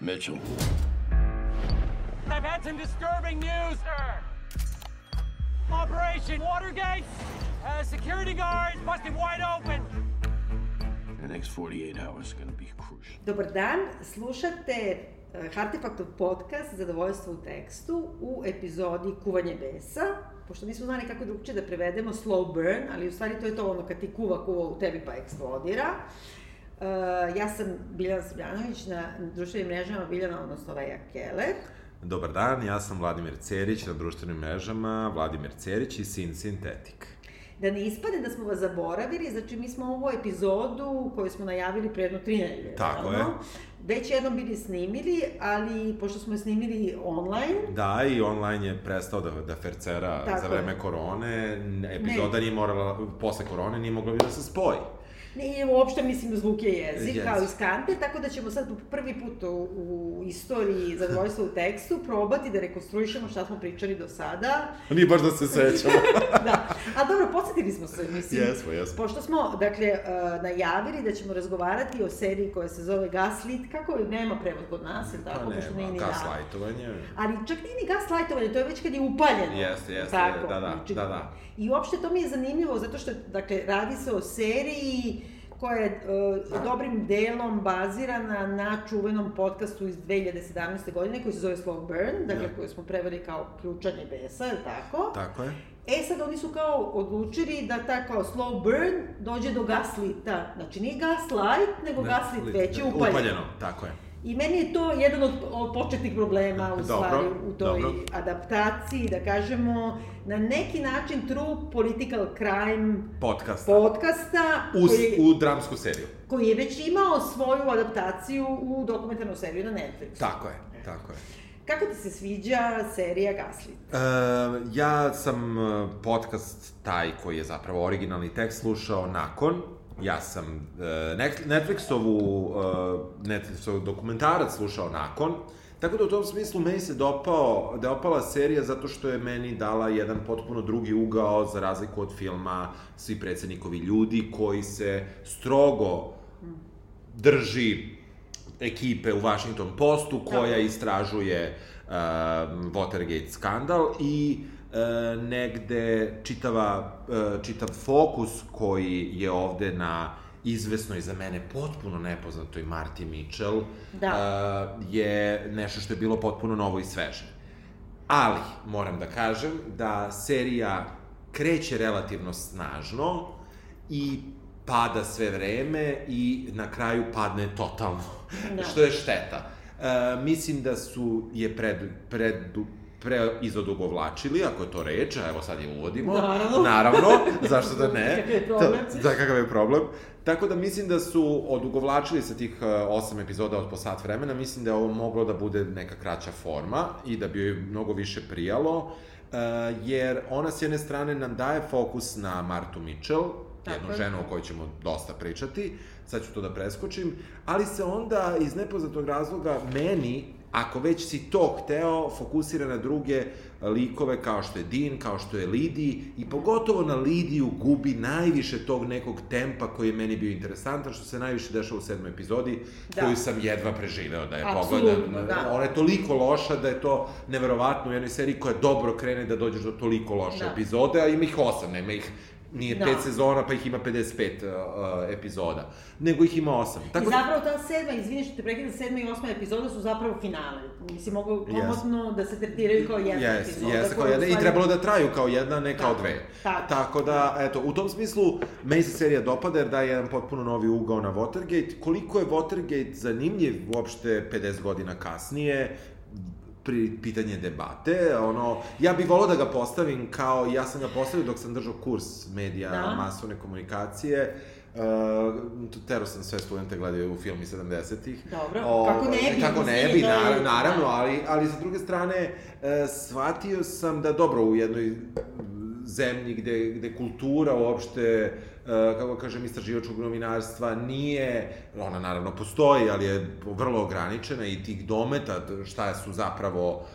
Mitchell. I've had some disturbing news, sir. Operation Watergate. Uh, security guards busted wide open. The next 48 hours are going to be crucial. Dobar dan, slušate eh, Artefaktov podcast Zadovoljstvo u tekstu u epizodi Kuvanje besa, pošto nismo znali kako drugčije da prevedemo slow burn, ali u stvari to je to ono kad ti kuva kuva u tebi pa eksplodira. Uh, ja sam Biljana Srbljanović na društvenim mrežama Biljana, odnosno Veja Keller. Dobar dan, ja sam Vladimir Cerić na društvenim mrežama, Vladimir Cerić i Sin Sintetik. Da ne ispade da smo vas zaboravili, znači mi smo ovu epizodu koju smo najavili pre jedno tri nedelje. Tako naravno, je. Već jednom bili snimili, ali pošto smo je snimili online, Da, i online je prestao da, da fercera Tako Tako za vreme je. korone, epizoda nije morala, posle korone nije mogla da se spoji. Ne, uopšte mislim da zvuk je jezik, Jezik. kao iz kante, tako da ćemo sad po prvi put u, u istoriji zadovoljstva u tekstu probati da rekonstruišemo šta smo pričali do sada. Nije baš da se sećamo. Da, a dobro, podsjetili smo se, mislim. jesmo, jesmo. Pošto smo, dakle, e, najavili da ćemo razgovarati o seriji koja se zove Gaslit, kako je, nema prevod kod nas, je tako, Pa pošto nije nema, ni da. gaslajtovanje. Ali čak nije ni gaslightovanje, to je već kad je upaljeno. Jeste, jeste, tako, da, da, znači, da, da. I uopšte to mi je zanimljivo, zato što, dakle, radi se o seriji koja je uh, dobrim delom bazirana na čuvenom podcastu iz 2017. godine koji se zove Slow Burn, dakle, Da. koju smo preveli kao ključanje besa, je li tako? Tako je. E sad oni su kao odlučili da ta kao slow burn dođe do gaslita. Znači nije gaslight, nego Ne, gaslit li- već je da, upaljeno. Upaljeno, tako je. I meni je to jedan od, od početnih problema u Dobro, stvari u toj dobro. adaptaciji, da kažemo, na neki način true political crime Podcast. podcasta Uz, koji, u dramsku seriju. koji je već imao svoju adaptaciju u dokumentarnu seriju na Netflixu. Tako je, tako je. Kako ti se sviđa serija Gaslit? E, ja sam e, podcast taj koji je zapravo originalni tekst slušao nakon. Ja sam e, Net- Netflixovu, e, Netflixovu dokumentarac slušao nakon. Tako da u tom smislu meni se dopao, dopala serija zato što je meni dala jedan potpuno drugi ugao za razliku od filma Svi predsednikovi ljudi koji se strogo drži ekipe u Washington Postu koja istražuje uh, Watergate skandal i uh, negde čitava, uh, čitav fokus koji je ovde na izvesnoj za mene potpuno nepoznatoj Marti Mitchell Da. uh, je nešto što je bilo potpuno novo i sveže. Ali, moram da kažem da serija kreće relativno snažno i pada sve vreme i na kraju padne totalno, Da. da. što je šteta. E, mislim da su je pred, pred, pre izodugovlačili, ako je to reč, a evo sad je uvodimo. Naravno. Naravno, zašto da ne? Kakav je problem? Da, Da, kakav je problem. Tako da mislim da su odugovlačili sa tih e, osam epizoda od po sat vremena, mislim da je ovo moglo da bude neka kraća forma i da bi joj mnogo više prijalo, e, jer ona s jedne strane nam daje fokus na Martu Mitchell, Tako jednu je. ženu o kojoj ćemo dosta pričati, sad ću to da preskočim, ali se onda iz nepoznatog razloga meni, ako već si to hteo, fokusira na druge e, likove kao što je Dean, kao što je Lidi i pogotovo na Lidiju gubi najviše tog nekog tempa koji je meni bio interesantan, što se najviše dešava u sedmoj epizodi, Da. da. koju sam jedva preživeo da je Apsolutno, pogledam. da. Ona je toliko loša da je to neverovatno u jednoj seriji koja dobro krene da dođeš do toliko loše Da. da. epizode, a ima ih osam, nema ih nije Da. da. pet sezona pa ih ima 55 uh, uh, epizoda, nego ih ima osam. Tako... Tako I da, zapravo ta sedma, izvini što te prekida, sedma i osma epizoda su zapravo finale. Mislim, mogu Yes. komotno da se tretiraju kao jedna Jes, epizoda. jes, kao koja jedna, u i stvari- trebalo da traju kao jedna, ne kao Da, dve. tako. Tako da, eto, u tom smislu, meni se serija dopada jer daje jedan potpuno novi ugao na Watergate. Koliko je Watergate zanimljiv uopšte 50 godina kasnije, pri, pitanje debate, ono, ja bih volao da ga postavim kao, ja sam ga postavio dok sam držao kurs medija, Da. da. masovne komunikacije, Uh, tero sam sve studente gledaju u filmi 70-ih. Dobro, Ovaj, kako ne bi, Kako ne mislim, bi, to je- naravno, naravno, ali, ali sa druge strane, e, shvatio sam da dobro u jednoj zemlji gde, gde kultura uopšte, e, kako kažem, istraživačkog novinarstva nije, ona naravno postoji, ali je vrlo ograničena i tih dometa šta su zapravo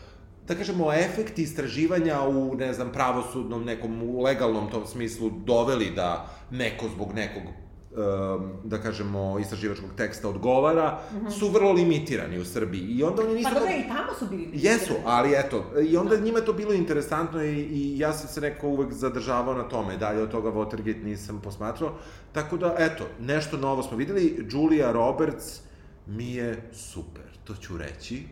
da kažemo, efekti istraživanja u, ne znam, pravosudnom, nekom u legalnom tom smislu doveli da neko zbog nekog um, da kažemo, istraživačkog teksta odgovara, mm -hmm. su vrlo limitirani u Srbiji. I onda oni nisu... Mhm. Pa dobro, i tamo su bili. Jesu, ali eto, i onda njima je to bilo interesantno i, i ja sam se nekako uvek zadržavao na tome, dalje od toga Watergate nisam posmatrao, tako da, eto, nešto novo smo videli, Julia Roberts mi je super, to ću reći,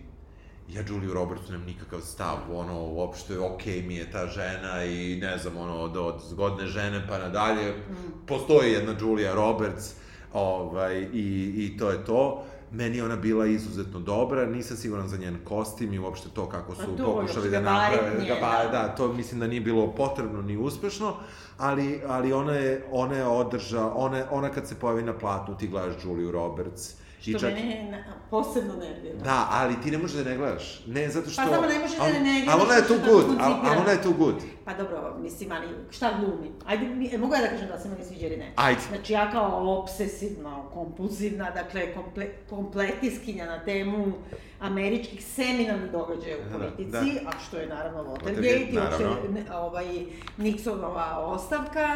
ja Juliju Roberts nemam nikakav stav, ono, uopšte, okej okay mi je ta žena i ne znam, ono, od, od zgodne žene pa nadalje, mm. postoji jedna Julia Roberts, ovaj, i, i to je to. Meni je ona bila izuzetno dobra, nisam siguran za njen kostim i uopšte to kako su Pa to, pokušali da gabarit naprave, njena. gabar, da, to mislim da nije bilo potrebno ni uspešno, ali, ali ona je, ona je održa, ona, ona kad se pojavi na platnu, ti gledaš Juliju Roberts. I Što čak- mene na- posebno nervira. Da, ali ti ne možeš da je ne gledaš. Ne, zato što... samo ne možeš da je ali- ne gledaš, Ali ona je zato tu što je good, tako ali ali ona je tu good. Pa dobro, mislim, ali šta glumi? Ajde, mi, e, mogu ja da kažem da se meni sviđa ili ne? Ajde. Znači, ja kao obsesivna, kompulzivna, dakle, komple, kompletiskinja na temu američkih seminarnih događaja u Da, politici, da. a što je naravno Watergate, Watergate, i uopšte naravno. ne- ovaj, Nixonova ostavka.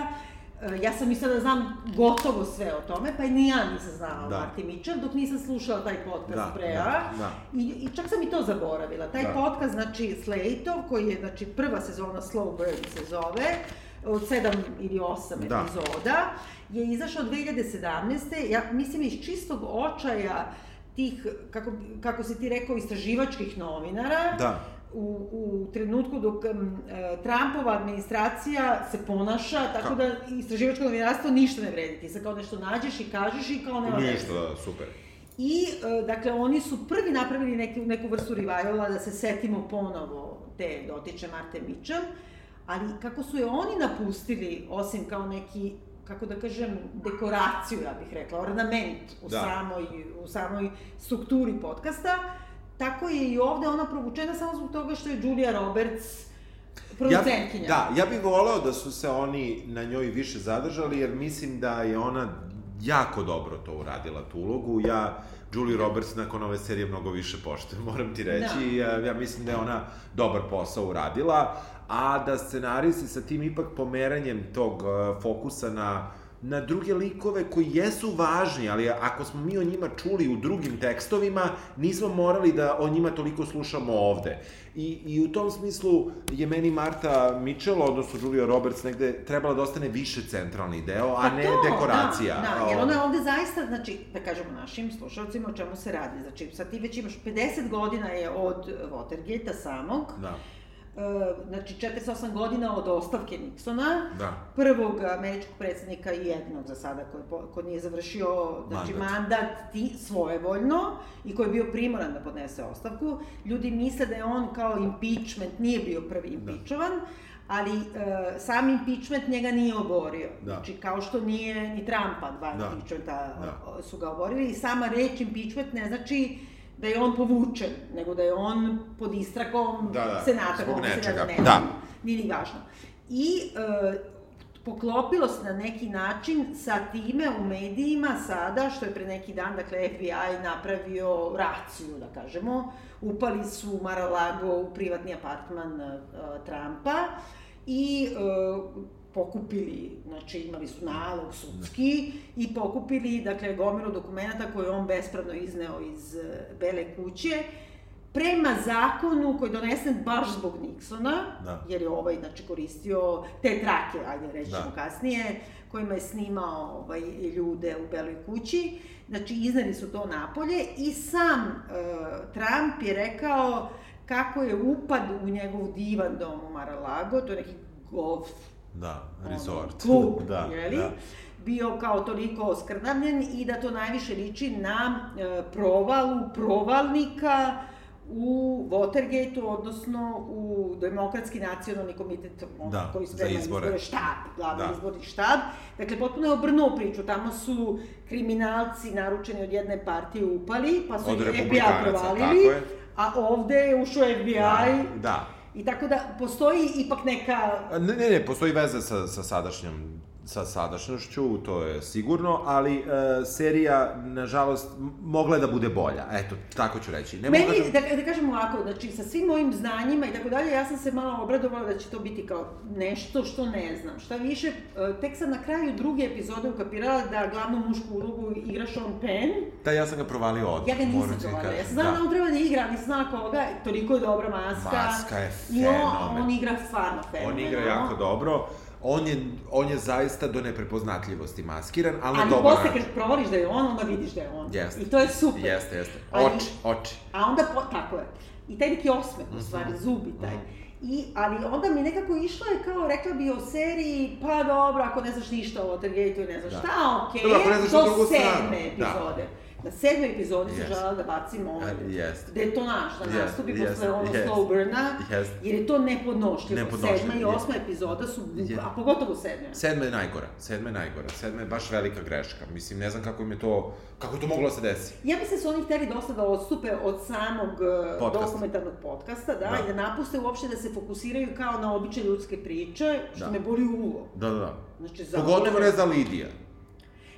E, Ja sam mislila da znam gotovo sve o tome, pa i ni ja nisam znala Da. da. Marti Mitchell, dok nisam slušala taj podcast Da, da, pre, da, da, da. I, I čak sam i to zaboravila. Taj Da. da. podcast, znači Slate-ov, koji je znači, prva sezona Slow Burn se zove, od sedam ili osam Da. da. epizoda, je izašao 2017. Ja mislim iz čistog očaja tih, kako, kako si ti rekao, istraživačkih novinara, Da. u, u trenutku dok um, e, Trumpova administracija se ponaša, tako Ka- da istraživačko novinarstvo ništa ne vredi. Ti sad kao nešto nađeš i kažeš i kao nema veze. Ništa, da, super. I, e, dakle, oni su prvi napravili neki, neku vrstu revivala da se setimo ponovo te dotiče Marte Mitchell, ali kako su je oni napustili, osim kao neki, kako da kažem, dekoraciju, ja bih rekla, ornament u, Da. da. samoj, u samoj strukturi podcasta, tako je i ovde ona provučena samo zbog toga što je Julia Roberts producentkinja. Ja, da, ja bih voleo da su se oni na njoj više zadržali, jer mislim da je ona jako dobro to uradila, tu ulogu. Ja Julie Roberts nakon ove serije mnogo više poštujem, moram ti reći. Da. Ja mislim da je ona dobar posao uradila, a da scenaristi sa tim ipak pomeranjem tog e, fokusa na na druge likove koji jesu važni, ali ako smo mi o njima čuli u drugim tekstovima, nismo morali da o njima toliko slušamo ovde. I, i u tom smislu je meni Marta Mitchell, odnosno Julia Roberts, negde trebala da ostane više centralni deo, a ne dekoracija. Pa Da, da, Ovo- jer ona je ovde zaista, znači, da kažemo našim slušalcima o čemu se radi. Znači, sad ti već imaš 50 godina je od Watergate-a samog, Da, e, znači 48 godina od ostavke Nixona, da. prvog američkog predsednika i jednog za sada koji, po- koji nije završio znači, Mandat. mandat. mandat ti svojevoljno i koji je bio primoran da podnese ostavku. Ljudi misle da je on kao impeachment, nije bio prvi Da. impeachovan, ali e, sam impeachment njega nije oborio. Da. Znači kao što nije ni Trumpa dva Da. da. impeachmenta Da. o- su ga oborili i sama reč impeachment ne znači da je on povučen, nego da je on pod istragom Da, da, senata, zbog koliko se nečega. radi, ne Da. znam, nije ni važno. I e, poklopilo se na neki način sa time u medijima sada, što je pre neki dan, dakle, FBI napravio raciju, da kažemo, upali su u Mar-a-Lago u privatni apartman e, Trumpa i e, pokupili, znači imali su nalog sudski i pokupili, dakle, gomilu dokumenta koje je on bespravno izneo iz e, Bele kuće, prema zakonu koji je donesen baš zbog Nixona, Da. jer je ovaj znači, koristio te trake, ajde reći Da. ćemo kasnije, kojima je snimao ovaj, ljude u Beloj kući. Znači, izneli su to napolje i sam e, Trump je rekao kako je upad u njegov divan dom u Mar-a-Lago, to je neki golf Da, ono, resort. klub, da, jeli? Da. bio kao toliko oskrnavljen i da to najviše liči na e, provalu provalnika u Watergate-u, odnosno u Demokratski nacionalni komitet on, Da, koji za sprema izbore. štab, glavni Da. da. izborni štab. Dakle, potpuno je obrnuo priču. Tamo su kriminalci naručeni od jedne partije upali, pa su Od ih FBI republikanaca, tako provalili, je. a ovde je ušao FBI. Da, da. I tako da postoji ipak neka Ne, ne, ne, postoji veza sa, sa sadašnjom sa sadašnjošću, to je sigurno, ali e, serija, nažalost, m- mogla je da bude bolja. Eto, tako ću reći. Ne mogu Meni, kažem- da, da kažem ovako, znači sa svim mojim znanjima i tako dalje, ja sam se malo obradovala da će to biti kao nešto što ne znam. Šta više, e, tek sam na kraju druge epizode ukapirala da glavnu mušku ulogu igra Sean Penn. Da, ja sam ga provalio odmah. Ja ga nisam moram ti dovala, kažem. ja sam znala da. on treba da igra, ali nisam znala koga, toliko je dobra maska. Maska je I on, fenomen. da on igra stvarno On fenomenalno. igra jako dobro. On je, on je zaista do neprepoznatljivosti maskiran, ali, Ali dobro. posle kad provališ da je on, onda vidiš da je on. Jeste. I to je super. Jeste, jeste. Ali- Oči, oči. A onda, po, tako je. I taj neki osmeh, u stvari, Mhm. zubi taj. I, ali onda mi nekako išlo je kao, rekla bi o seriji, pa dobro, ako ne znaš ništa o Watergateu i ne znaš Da. šta, okej, Dobro, ako ne znaš na drugu do stranu, sedme da. epizode. Na sedmoj epizodi yes. Jest. sam želela da bacim ovaj A, jest. detonaž da Jest, nastupi jest, posle ono jest. slow burna, Jest. jer je to nepodnošljivo. Nepodnošljivo, Sedma i je. osma epizoda su, Je. a pogotovo sedma. Sedma je najgora, sedma je najgora, sedma je baš velika greška. Mislim, ne znam kako im je to, kako je to moglo da se desi. Ja mislim da su oni hteli dosta da odstupe od samog Podcasta. podcasta. dokumentarnog podcasta, da, Da. da, i da napuste uopšte da se fokusiraju kao na običaj ljudske priče, što da. Da. me boli uvo. Da, da, da. Znači, za Pogotovo ne zna Lidija.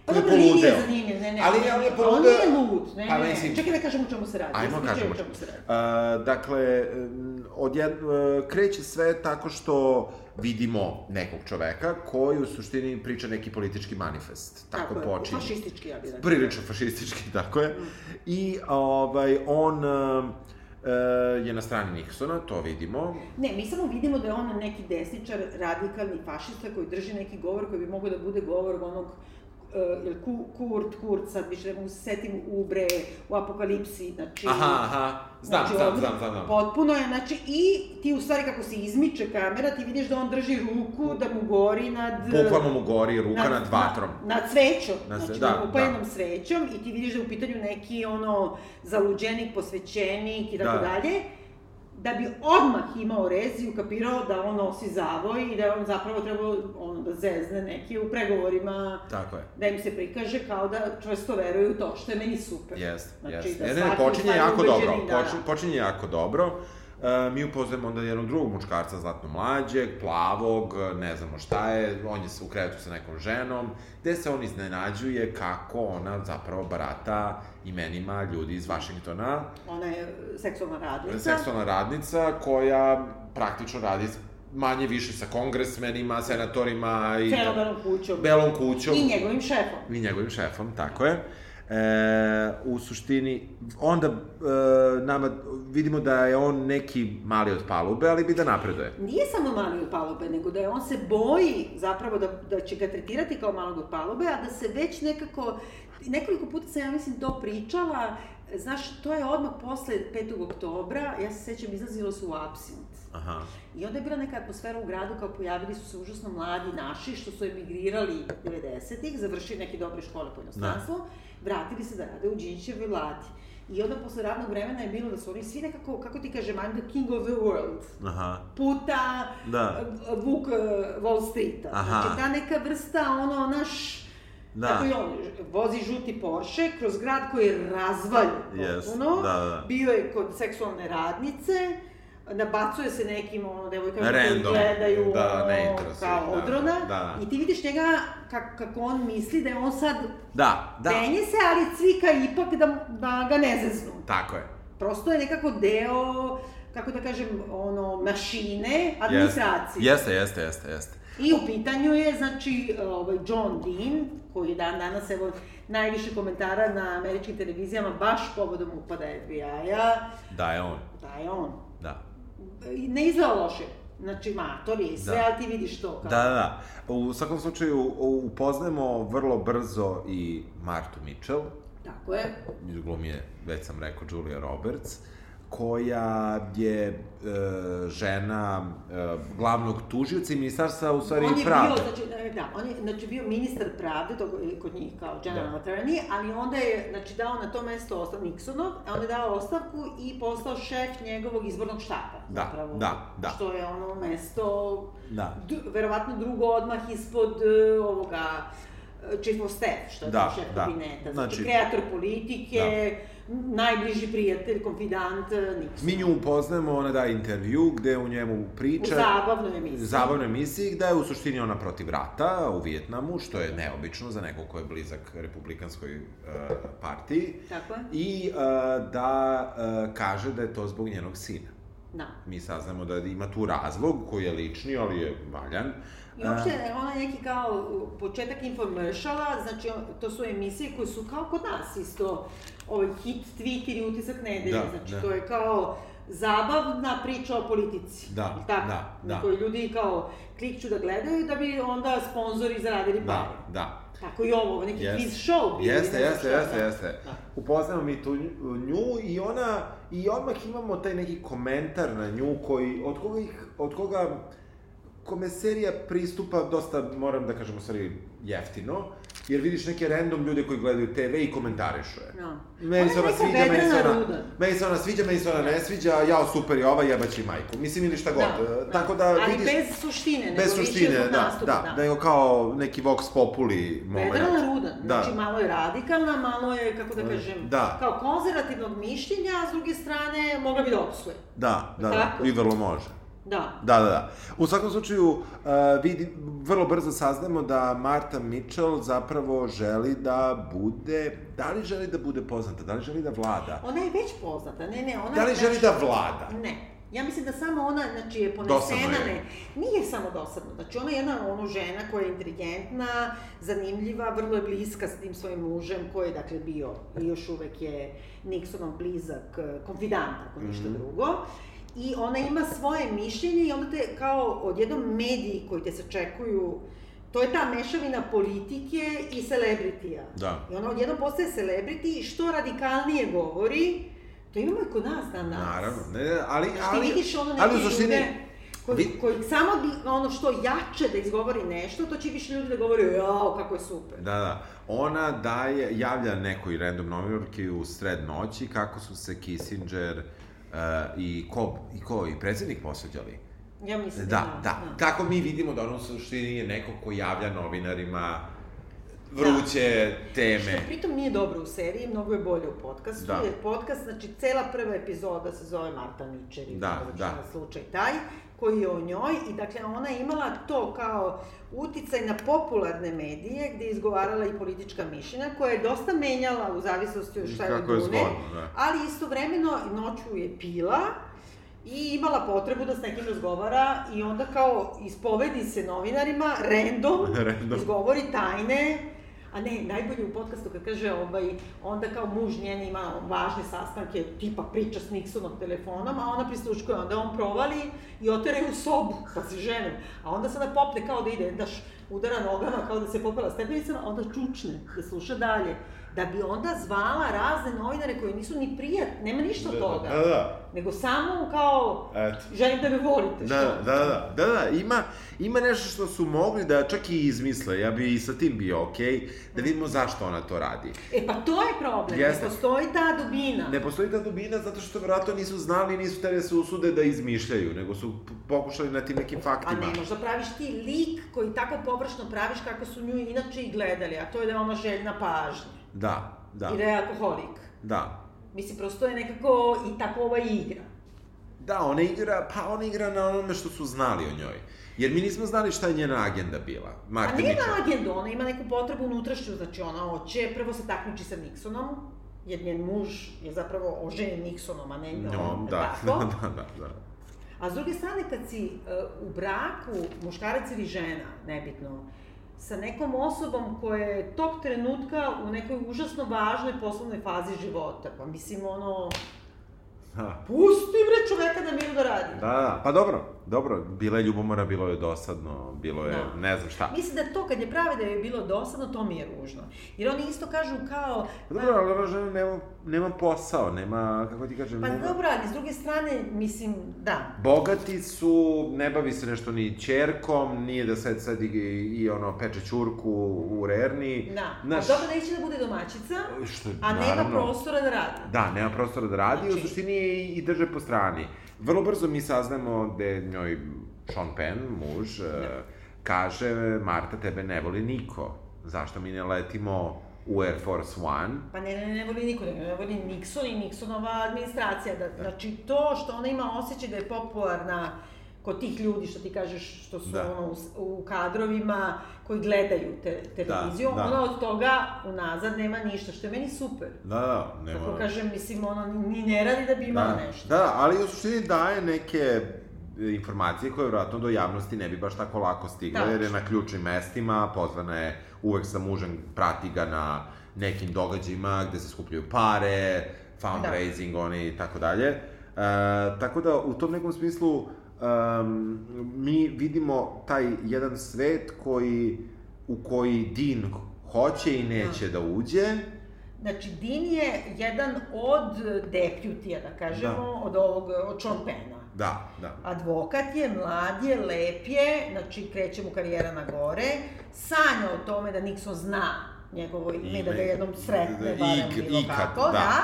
Pa koji je dobro, nije poludeo. zanimljiv, ne, ne. Ali ne, on je ne, poludeo- On nije lud, ne, Pa, ne, ne. mislim- Čekaj da kažem o čemu se radi. Ajmo ispričaj kažemo. o čemu se radi. Uh, dakle, mm, odjed, uh, kreće sve tako što vidimo nekog čoveka koji u suštini priča neki politički manifest. Tako, je, počinje. Fašistički, ja bih rekla. Mm. prilično fašistički, tako je. I ovaj, on e, e, je na strani Nixona, to vidimo. Ne, mi samo vidimo da je on neki desničar, radikalni fašista koji drži neki govor koji bi mogao da bude govor onog uh, jel, ku, Kurt, Kurt, sad više ne mogu se setim, u bre, u apokalipsi, znači... aha, znači, on- Potpuno je, znači, i ti u stvari kako se izmiče kamera, ti vidiš da on drži ruku, da mu gori nad... Bukvalno mu gori ruka nad vatrom. Nad, nad svećom, Na Znači, na sve- znači da, da, da. upaljenom da. svećom i ti vidiš da je u pitanju neki ono zaluđenik, posvećenik i tako Da. dalje, da bi odmah imao rez i ukapirao da on nosi zavoj i da je on zapravo trebao ono, da zezne neke u pregovorima, Tako je. da im se prikaže kao da čvrsto veruju u to, što je meni super. Jeste, Znači, jeste. da ne, ne, svaki počinje stvari jako dobro. ubeđeni, da, Počinje, da. počinje jako dobro. E, mi upoznajemo onda jednog drugog muškarca, zlatno mlađeg, plavog, ne znamo šta je, on je se u krevetu sa nekom ženom, gde se on iznenađuje kako ona zapravo barata imenima ljudi iz Vašingtona, Ona je seksualna radnica. seksualna radnica koja praktično radi s- manje više sa kongresmenima, senatorima i Celodanom kućom. belom kućom I njegovim šefom. i njegovim šefom, tako je. E, u suštini, onda e, nama vidimo da je on neki mali od palube, ali bi da napreduje. Nije samo mali od palube, nego da je on se boji zapravo da, da će ga tretirati kao malog od palube, a da se već nekako, nekoliko puta sam ja mislim to pričala, znaš, to je odmah posle 5. oktobra, ja se sećam, izlazilo su u Absint. Aha. I onda je bila neka atmosfera u gradu kao pojavili su se užasno mladi naši što su emigrirali 90-ih, završili neke dobre škole po inostranstvu, vratili se da rade u Đinđićevoj vladi. I onda posle radnog vremena je bilo da su oni svi nekako, kako ti kažem, I'm the king of the world. Aha. Puta, Da. Vuk eh, Wall Streeta. Aha. Znači ta neka vrsta, ono, naš, da. Da. tako i on, vozi žuti Porsche kroz grad koji je razvaljen Jest, potpuno. da, da. Bio je kod seksualne radnice, nabacuje se nekim ono, devojkama koji Random. gledaju Da, ono, ne interesuje, kao da, odrona. da, da. I ti vidiš njega kako, kako on misli da je on sad Da, da. da. penje se, ali cvika ipak da, da ga ne zeznu. Tako je. Prosto je nekako deo kako da kažem, ono, mašine, administracije. Jeste, jeste, jeste, jeste. I u pitanju je, znači, ovaj John Dean, koji je dan danas, evo, najviše komentara na američkim televizijama, baš povodom upada FBI-a, Da je on, da je on. da. I Ne izgleda loše, znači, mator je i sve, Da. da. ali ti vidiš to kao. Da, da, da. U svakom slučaju, u- upoznajemo vrlo brzo i Martu Mitchell, Tako je. glumi je, već sam rekao, Julia Roberts, koja je e, žena e, glavnog tužioca i ministarstva, u stvari, on je pravde. bio, znači, da, on je znači, bio ministar pravde tog, e, kod njih kao general Da. da. attorney, ali onda je znači, dao na to mesto ostav Nixonov, a onda je dao ostavku i postao šef njegovog izbornog štaba. Da, zapravo, da, da. Što je ono mesto Da. D, verovatno drugo odmah ispod e, ovoga e, chief of staff, što je Da, da, šef da. kabineta. Znači, Znači- da. kreator politike, najbliži prijatelj, konfidant, e, Nixon. Mi nju upoznajemo, ona daje intervju gde u njemu priča... U zabavnoj emisiji. zabavnoj emisiji da je u suštini ona protiv rata u Vijetnamu, što je neobično za nekog ko je blizak republikanskoj e, partiji. Tako je. I e, da e, kaže da je to zbog njenog sina. Da. Mi saznamo da ima tu razlog koji je lični, ali je valjan. I Da. uopšte, ona je neki kao uh, početak infomeršala, znači o- to su emisije koje su kao kod nas isto, ovaj hit tweet ili utisak nedelje, Da, znači da. to je kao zabavna priča o politici. Da, jel tako? da, Na da. koju ljudi kao klikću da gledaju da bi onda sponzori zaradili pare. Da, da. Tako i ovo, neki Jeste. quiz show. bio, Jeste, ne znam jeste, šta, jeste, da. jeste. Da. Upoznamo mi tu nju- nju i ona, i odmah imamo taj neki komentar na nju koji, od koga, ih, od koga kome serija pristupa dosta, moram da kažem, u stvari jeftino, jer vidiš neke random ljude koji gledaju TV i komentarišu je. Da. Meni se Ona ona je neka sviđa, meni se vedrana ona, ruda. meni se ona sviđa, meni se ona ne sviđa, jao super je ova, jebaći majku. Mislim ili šta god. E, Tako da Ali vidiš... bez suštine, nego Bez više suštine, zbog da, nastupa, da, da, nego kao neki vox populi moment. Pedrala Rudan, Da. znači malo je radikalna, malo je, kako da kažem, da. kao konzervativnog mišljenja, a s druge strane mogla bi da opsuje. Da, da, Tako? da, i vrlo može. Da. Da, da, da. U svakom slučaju, uh, vidi, vrlo brzo saznamo da Marta Mitchell zapravo želi da bude, da li želi da bude poznata, da li želi da vlada, Ona je već poznata, ne, ne, ona da li je želi znači- da vlada. Ne. Ja mislim da samo ona, znači, je Dosadno ponesena, je. ne, nije samo dosadno, znači ona je jedna ono žena koja je inteligentna, zanimljiva, vrlo je bliska s tim svojim mužem koji je, dakle, bio i još uvek je Nixonov blizak, eh, konfidant, ako Mhm. ništa drugo. I ona ima svoje mišljenje i onda te, kao odjednom mediji koji te sačekuju, to je ta mešavina politike i celebritija. Da. I ona odjednom postaje celebrity i što radikalnije govori, to imamo i kod nas dan danas. Naravno, ne, ne, ali, Znači, ali, Da. ti vidiš ono neke ali u suštini, ljude koji, vi- koji samo bi, ono što jače da izgovori nešto, to će više ljudi da govori, jao, kako je super. Da, da. Ona daje, javlja nekoj random novinarki u sred noći kako su se Kissinger uh, i ko, i ko, i predsednik posveđali. Ja mislim Da, da. Tako mi vidimo da ono u suštini je neko ko javlja novinarima vruće teme. Da. Što pritom nije dobro u seriji, mnogo je bolje u podcastu, Da. da. jer podcast, znači cela prva epizoda se zove Marta Mičeri, Da, da. slučaj taj, koji je o njoj i dakle ona je imala to kao uticaj na popularne medije gde je izgovarala i politička mišljenja koja je dosta menjala u zavisnosti od šta je Kako je od Dune, zgodno, da. ali istovremeno noću je pila i imala potrebu da s nekim razgovara i onda kao ispovedi se novinarima random, Random. izgovori tajne A ne, najbolje u podcastu kad kaže ovaj, onda kao muž njen ima važne sastanke, tipa priča s Nixonom telefonom, a ona prisluškuje, onda on provali i otere je u sobu sa se ženom. A onda sada popne kao da ide, da š- udara nogama kao da se popela stepenicama, a onda čučne da sluša dalje. Da bi onda zvala razne novinare koji nisu ni prijat, nema ništa od toga. Da, da. Nego samo kao, Eto. želim da me volite. Da, što? da, da, da, da, ima, ima nešto što su mogli da čak i izmisle, ja bi i sa tim bio okej, da vidimo zašto ona to radi. E pa to je problem, Jeste. ne postoji ta dubina. Ne postoji ta dubina zato što verovatno nisu znali i nisu hteli da se usude da izmišljaju, nego su p- pokušali na tim nekim A faktima. ne, možda praviš ti lik koji tako površno praviš kako su nju inače i gledali, a to je da je ona željna pažnje Da, da, da. i da je alkoholik. da. Mislim, prosto je nekako i tako ova igra. Da, ona igra, pa ona igra na onome što su znali o njoj. Jer mi nismo znali šta je njena agenda bila, A Marta nije Mitchell. na agendu, ona ima neku potrebu unutrašnju, znači ona hoće, prvo se takmiči sa Nixonom, jer njen muž je zapravo oženjen Nixonom, a ne njom, No, jel da, da, tako? da, da, da. A s druge strane, kad si e, u braku, muškarac ili žena, nebitno, sa nekom osobom koja je tog trenutka u nekoj užasno važnoj poslovnoj fazi života, pa mislim, ono, Da, pusti bre čoveka da miru da radi. da, pa dobro, dobro, bila je ljubomora, bilo je dosadno, bilo je, Da. ne znam šta. Mislim da to kad je prave da je bilo dosadno, to mi je ružno. Jer oni isto kažu kao... Pa dobro, ali ona žena nema, nema posao, nema, kako ti kažem, Pa nema... dobro, ali s druge strane, mislim, da, Bogati su, ne bavi se nešto ni ćerkom, nije da sad, sad i, i ono peče ćurku u rerni. da. Znaš, A dobro neće da bude domaćica, što, a nema naravno. prostora da radi. Da, nema prostora da radi, znači... u Znači- suštini je i, i drže po strani. Vrlo brzo mi saznamo da je njoj Sean Penn, eh, muž, da. kaže Marta, tebe ne voli niko. Zašto mi ne letimo u Air Force One. Pa ne, ne, ne voli niko, ne, ne voli Nixon i Nixonova administracija. Da, Znači, to što ona ima osjećaj da je popularna kod tih ljudi, što ti kažeš, što su Da. da. ono, u, s- u kadrovima koji gledaju te, televiziju, da. da, da. ona od toga unazad nema ništa, što je meni super. Da, da, nema. Tako kažem, mislim, ono, ni- ni ne radi da bi imala da, nešto. Da, ali u suštini daje neke e, informacije koje vjerojatno do javnosti ne bi baš tako lako stigle, Tačno. jer je na ključnim mestima, pozvana je uvek sa mužem, prati ga na nekim događajima gde se skupljaju pare, fundraising, da. oni i tako dalje. E, tako da, u tom nekom smislu, um, mi vidimo taj jedan svet koji, u koji Dean hoće i neće da uđe, Znači, Dean je jedan od deputija, da kažemo, da. Da. od ovog, od Sean Penna. Da, da. Advokat je, mlad je, lep je, znači kreće mu karijera na gore, sanja o tome da Nixon zna njegovo ime, Ime, da ga jednom sretne, da, barem ik- bilo ikad, kako, da. da. da.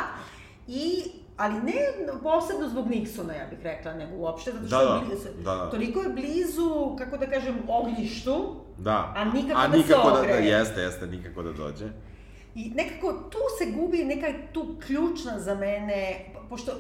I, ali ne posebno zbog Nixona, ja bih rekla, nego uopšte, zato što Da, da, da, je blizu, da, da. toliko je blizu, kako da kažem, ognjištu, Da. A nikako A da se nikako da, da ogreje. jeste, jeste, nikako da dođe. I nekako tu se gubi neka tu ključna za mene, pošto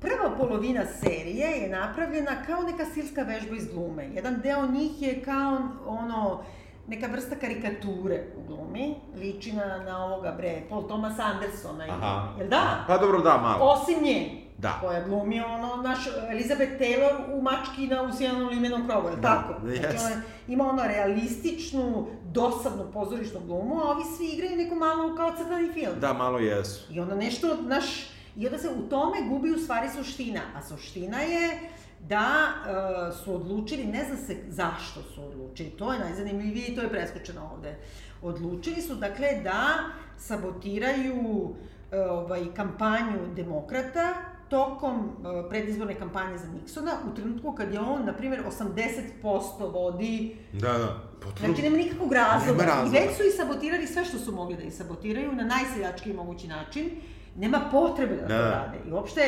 prva polovina serije je napravljena kao neka silska vežba iz glume. Jedan deo njih je kao ono, neka vrsta karikature u glumi, liči na, na ovoga bre, Paul Thomas Andersona. ili- Aha. Jel da? Pa dobro, da, malo. Osim nje, Da. koja glumi ono, naš Elizabeth Taylor u mački na usijanom limenom krovu, je li Da, tako? Znači, jest. ona ima ono realističnu, dosadnu pozorišnu glumu, a ovi svi igraju neku malu kao crtani film. Da, malo jesu. I onda nešto, naš, i onda se u tome gubi u stvari suština, a suština je da e, su odlučili, ne zna se zašto su odlučili, to je najzanimljivije i to je preskočeno ovde. Odlučili su, dakle, da sabotiraju e, ovaj, kampanju demokrata tokom e, predizborne kampanje za Nixona, u trenutku kad je on, na primjer, 80% vodi Da, da. Potpuno. Znači, nema nikakvog razloga. Nema razloga. I već su i sabotirali sve što su mogli da i sabotiraju na najseljački mogući način. Nema potrebe da, Da. to rade. I uopšte,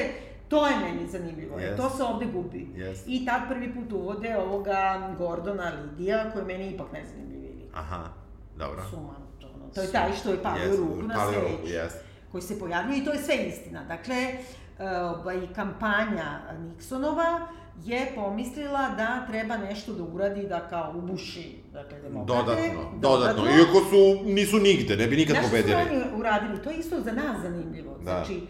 to je meni zanimljivo. Jest. Yes. To se ovde gubi. Jest. I tad prvi put uvode ovoga Gordona Lidija, koji je meni ipak najzanimljiviji lik. Aha, dobro. Suman, to, ono. to je taj što je palio Jest, ruku na palio ruku, sveću jest. koji se pojavljuje i to je sve istina. Dakle, e, ovaj, kampanja Nixonova je pomislila da treba nešto da uradi da kao ubuši, dakle, demokrate. Dodatno, dodatno. Iako su, nisu nigde, ne bi nikad Znaš što su pobedili. oni uradili? To je isto za nas zanimljivo. Da. Da. Znači,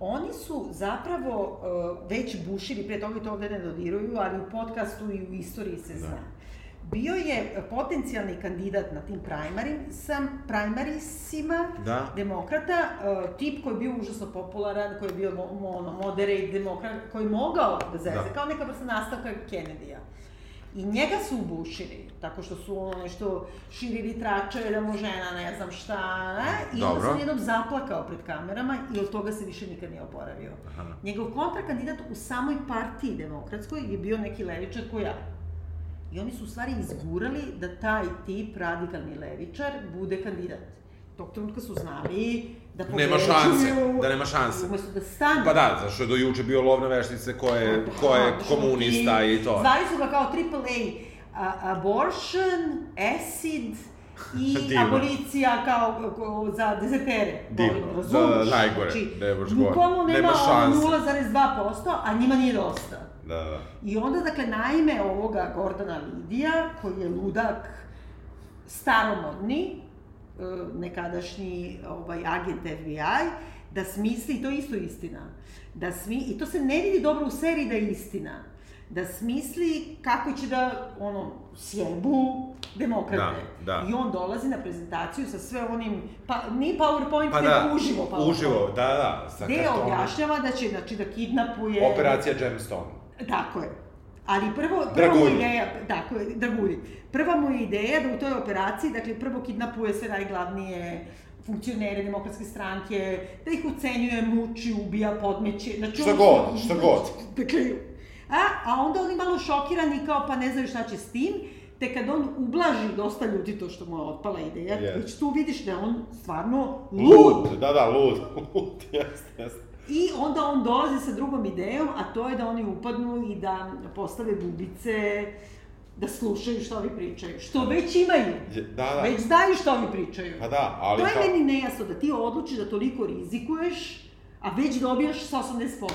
oni su zapravo uh, već bušili, pre toga i to ovde ne dodiruju, ali u podcastu i u istoriji Da. se zna. Bio je uh, potencijalni kandidat na tim primarisam, primarisima Da. demokrata, uh, tip koji je bio užasno popularan, koji je bio mo, mo- ono, moderate demokrat, koji je mogao da zeze, Da. da. kao neka vrsta nastavka Kennedy-a. I njega su ubušili, tako što su ono nešto širili tračeve da mu žena ne znam šta, ne? i onda Dobro. se jednom zaplakao pred kamerama i od toga se više nikad nije oporavio. Aha. Njegov kontrakandidat u samoj partiji demokratskoj je bio neki levičar ko ja. I oni su u stvari izgurali da taj tip, radikalni levičar, bude kandidat. Tog trenutka su znali da Nema šanse, da nema šanse. Umesto da stane. Pa da, zašto je do juče bio lovna veštice ko je, ko je Pa, komunista i to. Zvali su ga kao AAA a, abortion, acid i Divno. abolicija kao ko- za dezertere. Divno. Volim, Za razumeš? Znači, najgore, da je baš gore. Bukvalno nema, Nema šanse. 0,2%, a njima nije dosta. Da, da. I onda, dakle, naime ovoga Gordana Lidija, koji je ludak staromodni, e, nekadašnji ovaj, agent FBI, da smisli, i to je isto istina, da smi, i to se ne vidi dobro u seriji da je istina, da smisli kako će da, ono, sjebu demokrate. Da, da. I on dolazi na prezentaciju sa sve onim, pa, ni PowerPoint, Pa nego da, uživo PowerPoint. uživo, da, da. Sa Gde kartona. objašnjava da će, znači, da kidnapuje... Operacija Gemstone. Tako je. Ali prvo, prva mu Dragulji. ideja, tako je, dragulji. Prva mu je ideja da u toj operaciji, dakle, prvo kidnapuje sve najglavnije funkcionere demokratske stranke, da ih ucenjuje, muči, ubija, podmeće. Znači, Šta on- god, šta god. Dakle, a, a onda oni malo šokirani kao pa ne znaju šta će s tim, te kad on ublaži dosta ljudi to što mu je otpala ideja, Yes. yes. već tu vidiš da je on stvarno lud. Lud, da, da, lud. Lud, jeste, jeste. I onda on dolazi sa drugom idejom, a to je da oni upadnu i da postave bubice da slušaju što ovi pričaju. Što već imaju. Je- Da, da. Već znaju što ovi pričaju. Pa da, ali to je kao... meni nejasno, da ti odlučiš da toliko rizikuješ, a već dobijaš sa 80%.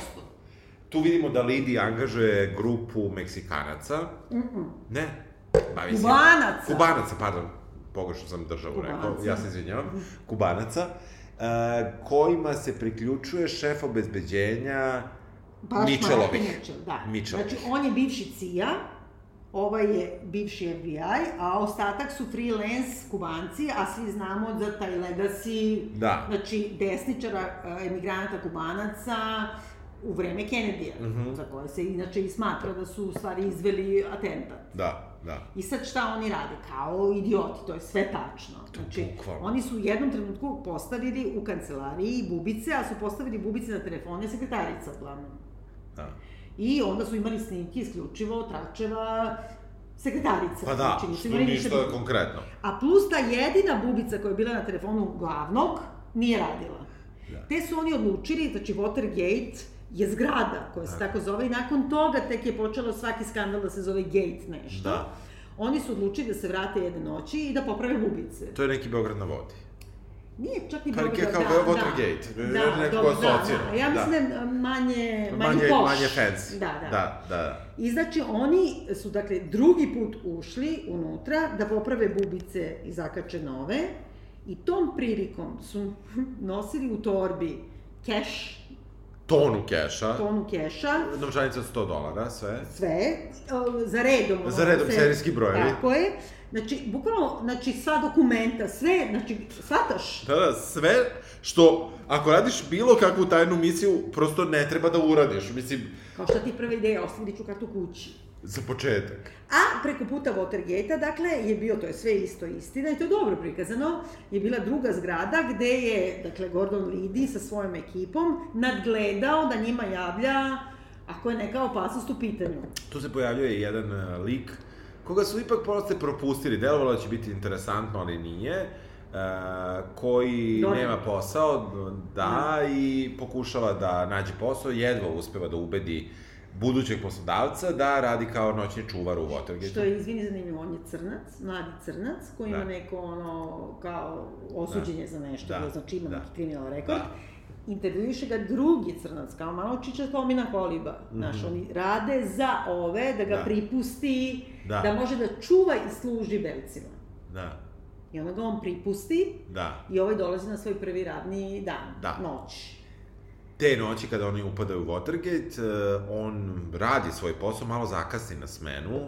Tu vidimo da Lidi angažuje grupu Meksikanaca. Mm -mm. Ne. Bavi se- Kubanaca! Kubanaca, pardon. Pogrešno sam državu rekao. Kubanaca. Ja se izvinjavam. Kubanaca. E, kojima se priključuje šef obezbeđenja Baš Mitchellovih. Martin Mitchell, da. Mitchellovih. Znači, on je bivši CIA, ovaj je bivši FBI, a ostatak su freelance kubanci, a svi znamo za taj legacy, Da. znači, desničara, e, emigranata kubanaca, u vreme Kennedy-a, Mhm. za koje se inače i smatra da su u stvari izveli atentat. Da, da. I sad šta oni rade? Kao idioti, to je sve tačno. To je Znači, bukvalno. oni su u jednom trenutku postavili u kancelariji bubice, a su postavili bubice na telefone sekretarica, uglavnom. da. I onda su imali snimke isključivo tračeva sekretarica. Pa da, znači, nisu što imali ništa ništa drugo. konkretno. A plus ta jedina bubica koja je bila na telefonu glavnog nije radila. Da. Te su oni odlučili, znači Watergate je zgrada koja se tako zove i nakon toga tek je počelo svaki skandal da se zove Gate nešto. Da. Oni su odlučili da se vrate jedne noći i da poprave bubice. To je neki Beograd na vodi. Nije čak ni da- Pa, Beograd, kao Watergate, nekako asocira, Ja da. mislim da je manje, manje, Manje, poš. manje fancy. Da, da. Da, da. I znači oni su dakle drugi put ušli unutra da poprave bubice i zakače nove i tom prilikom su nosili u torbi keš, Tonu keša. tonu keša, Novčanica od 100 dolara, sve. sve, e, za redom. ono, Za redom, serijski brojevi. Tako je. Znači, bukvalno, znači, sva dokumenta, sve, znači, shvataš? Da, da, sve što, ako radiš bilo kakvu tajnu misiju, prosto ne treba da uradiš. Mislim, Kao šta ti je prva ideja, ostavit ću kartu kući. za početak. A preko puta Watergate-a, dakle, je bio, to je sve isto istina i to je dobro prikazano, je bila druga zgrada gde je, dakle, Gordon Liddy sa svojom ekipom nadgledao da njima javlja ako je neka opasnost u pitanju. Tu se pojavljuje i jedan e, lik koga su ipak proste propustili. Delovalo je da će biti interesantno, ali nije. E, koji Donovan. nema posao, da, i pokušava da nađe posao, jedva uspeva da ubedi budućeg poslodavca da radi kao noćni čuvar u Watergate. Što je, izvini, zanimljivo, on je crnac, mladi crnac, koji ima Da. neko, ono, kao osuđenje za nešto, Da. da. znači ima Da. da. neki kriminal rekord. Da. Intervjuiše ga drugi crnac, kao malo čiča Tomina Koliba. Mm -hmm. Znaš, oni rade za ove, da ga Mhm. Da. da. pripusti, da. Da. da može da čuva i služi belcima. Da, I onda ga on pripusti da. i ovaj dolazi na svoj prvi radni dan, Da. noć. Te noći kada oni upadaju u Watergate, e, on radi svoj posao, malo zakasni na smenu,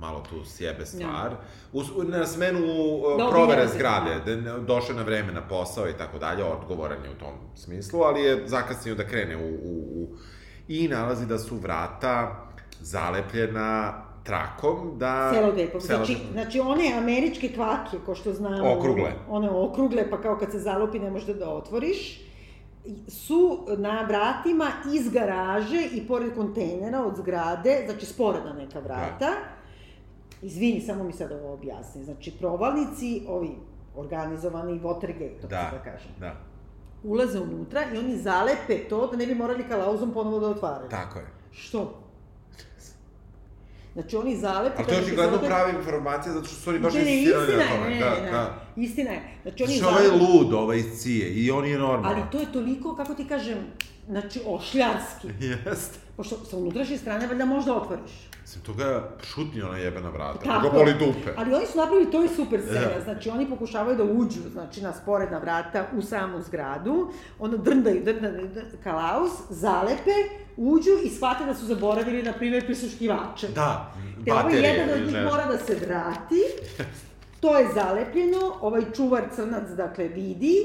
malo tu sjebe stvar. Us, na smenu e, Da, provere obijede se, zgrade, da ne- došao je na vreme na posao i tako dalje, odgovoran je u tom smislu, ali je zakasnio da krene u, u, u... I nalazi da su vrata zalepljena trakom da... Selotepom. Znači, Selotejpom. znači one američke kvake, ko što znamo, Okrugle. one okrugle, pa kao kad se zalupi ne možeš da otvoriš, su na vratima iz garaže i pored kontejnera od zgrade, znači sporedna neka Da. vrata. Izvini, samo mi sad ovo objasni. Znači, provalnici, ovi organizovani Watergate, da. Da, da kažem, da, ulaze unutra i oni zalepe to da ne bi morali kalauzom ponovo da otvaraju. tako je. Što? Znači oni zalepe... Ali to je kako ti očigledno zalepe- prava informacija, zato što su oni baš Ne, ne, insistirali istina na je, tome. ne, Da, ne, da. Istina je. Znači oni Znači, zalepe... ovaj je lud, ovaj iz Cije, i on je normalan. Ali to je toliko, kako ti kažem, znači ošljarski. Jeste. Pošto sa unutrašnje strane valjda možda otvoriš. Mislim, to ga šutni ona jebena vrata, Tako Tako. ga je. boli dupe. Ali oni su napravili to i super scena, Da. znači oni pokušavaju da uđu, znači na sporedna vrata u samu zgradu, ono drndaju, drndaju, drndaju kalaus, zalepe, uđu i shvate da su zaboravili, na primjer, prisluškivače. Da, Te ovaj baterije. jedan od ili njih nešto. mora da se vrati, to je zalepljeno, ovaj čuvar crnac dakle vidi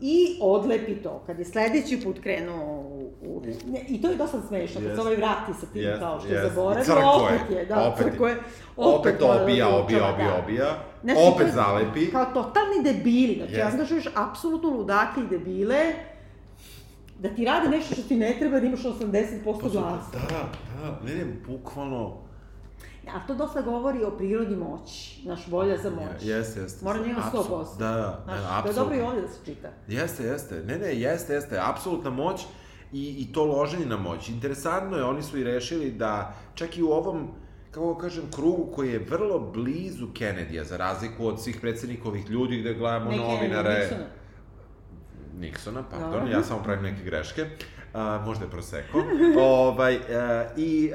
i odlepi to. Kad je sledeći put krenuo u... u... Ne, I to je dosta smešno, kad Jest. se ovaj vrati sa tim Jest, kao što je jest. zaboravio, Crko je, opet je, da, opet je. crko je, Opet, mora da obija, uključava, obija, obija, da. obija. Znači, to opet je zalepi. Kao totalni debili, znači Jest. yes. angažuješ apsolutno ludake i debile, da ti rade nešto što ti ne treba, da imaš 80% glasa. Da, da, da, ne, ne, bukvalno. A to dosta govori o prirodi moći, naš volja za moć. Jeste, jeste. jeste. Mora da ima Apsolutno. 100%. Da, da, Znaš, da, to je dobro i apsolutno. ovdje da se čita. Jeste, jeste. Ne, ne, jeste, jeste. Apsolutna moć i, i to loženje na moć. Interesantno je, oni su i rešili da čak i u ovom, kako kako kažem, krugu koji je vrlo blizu Kennedyja, za razliku od svih predsednikovih ljudi gde gledamo Ne novinare... Kennedy, Nixona. Nixona, pardon, Dobro. ja samo pravim neke greške. A, možda je proseko. ovaj, e, I, e,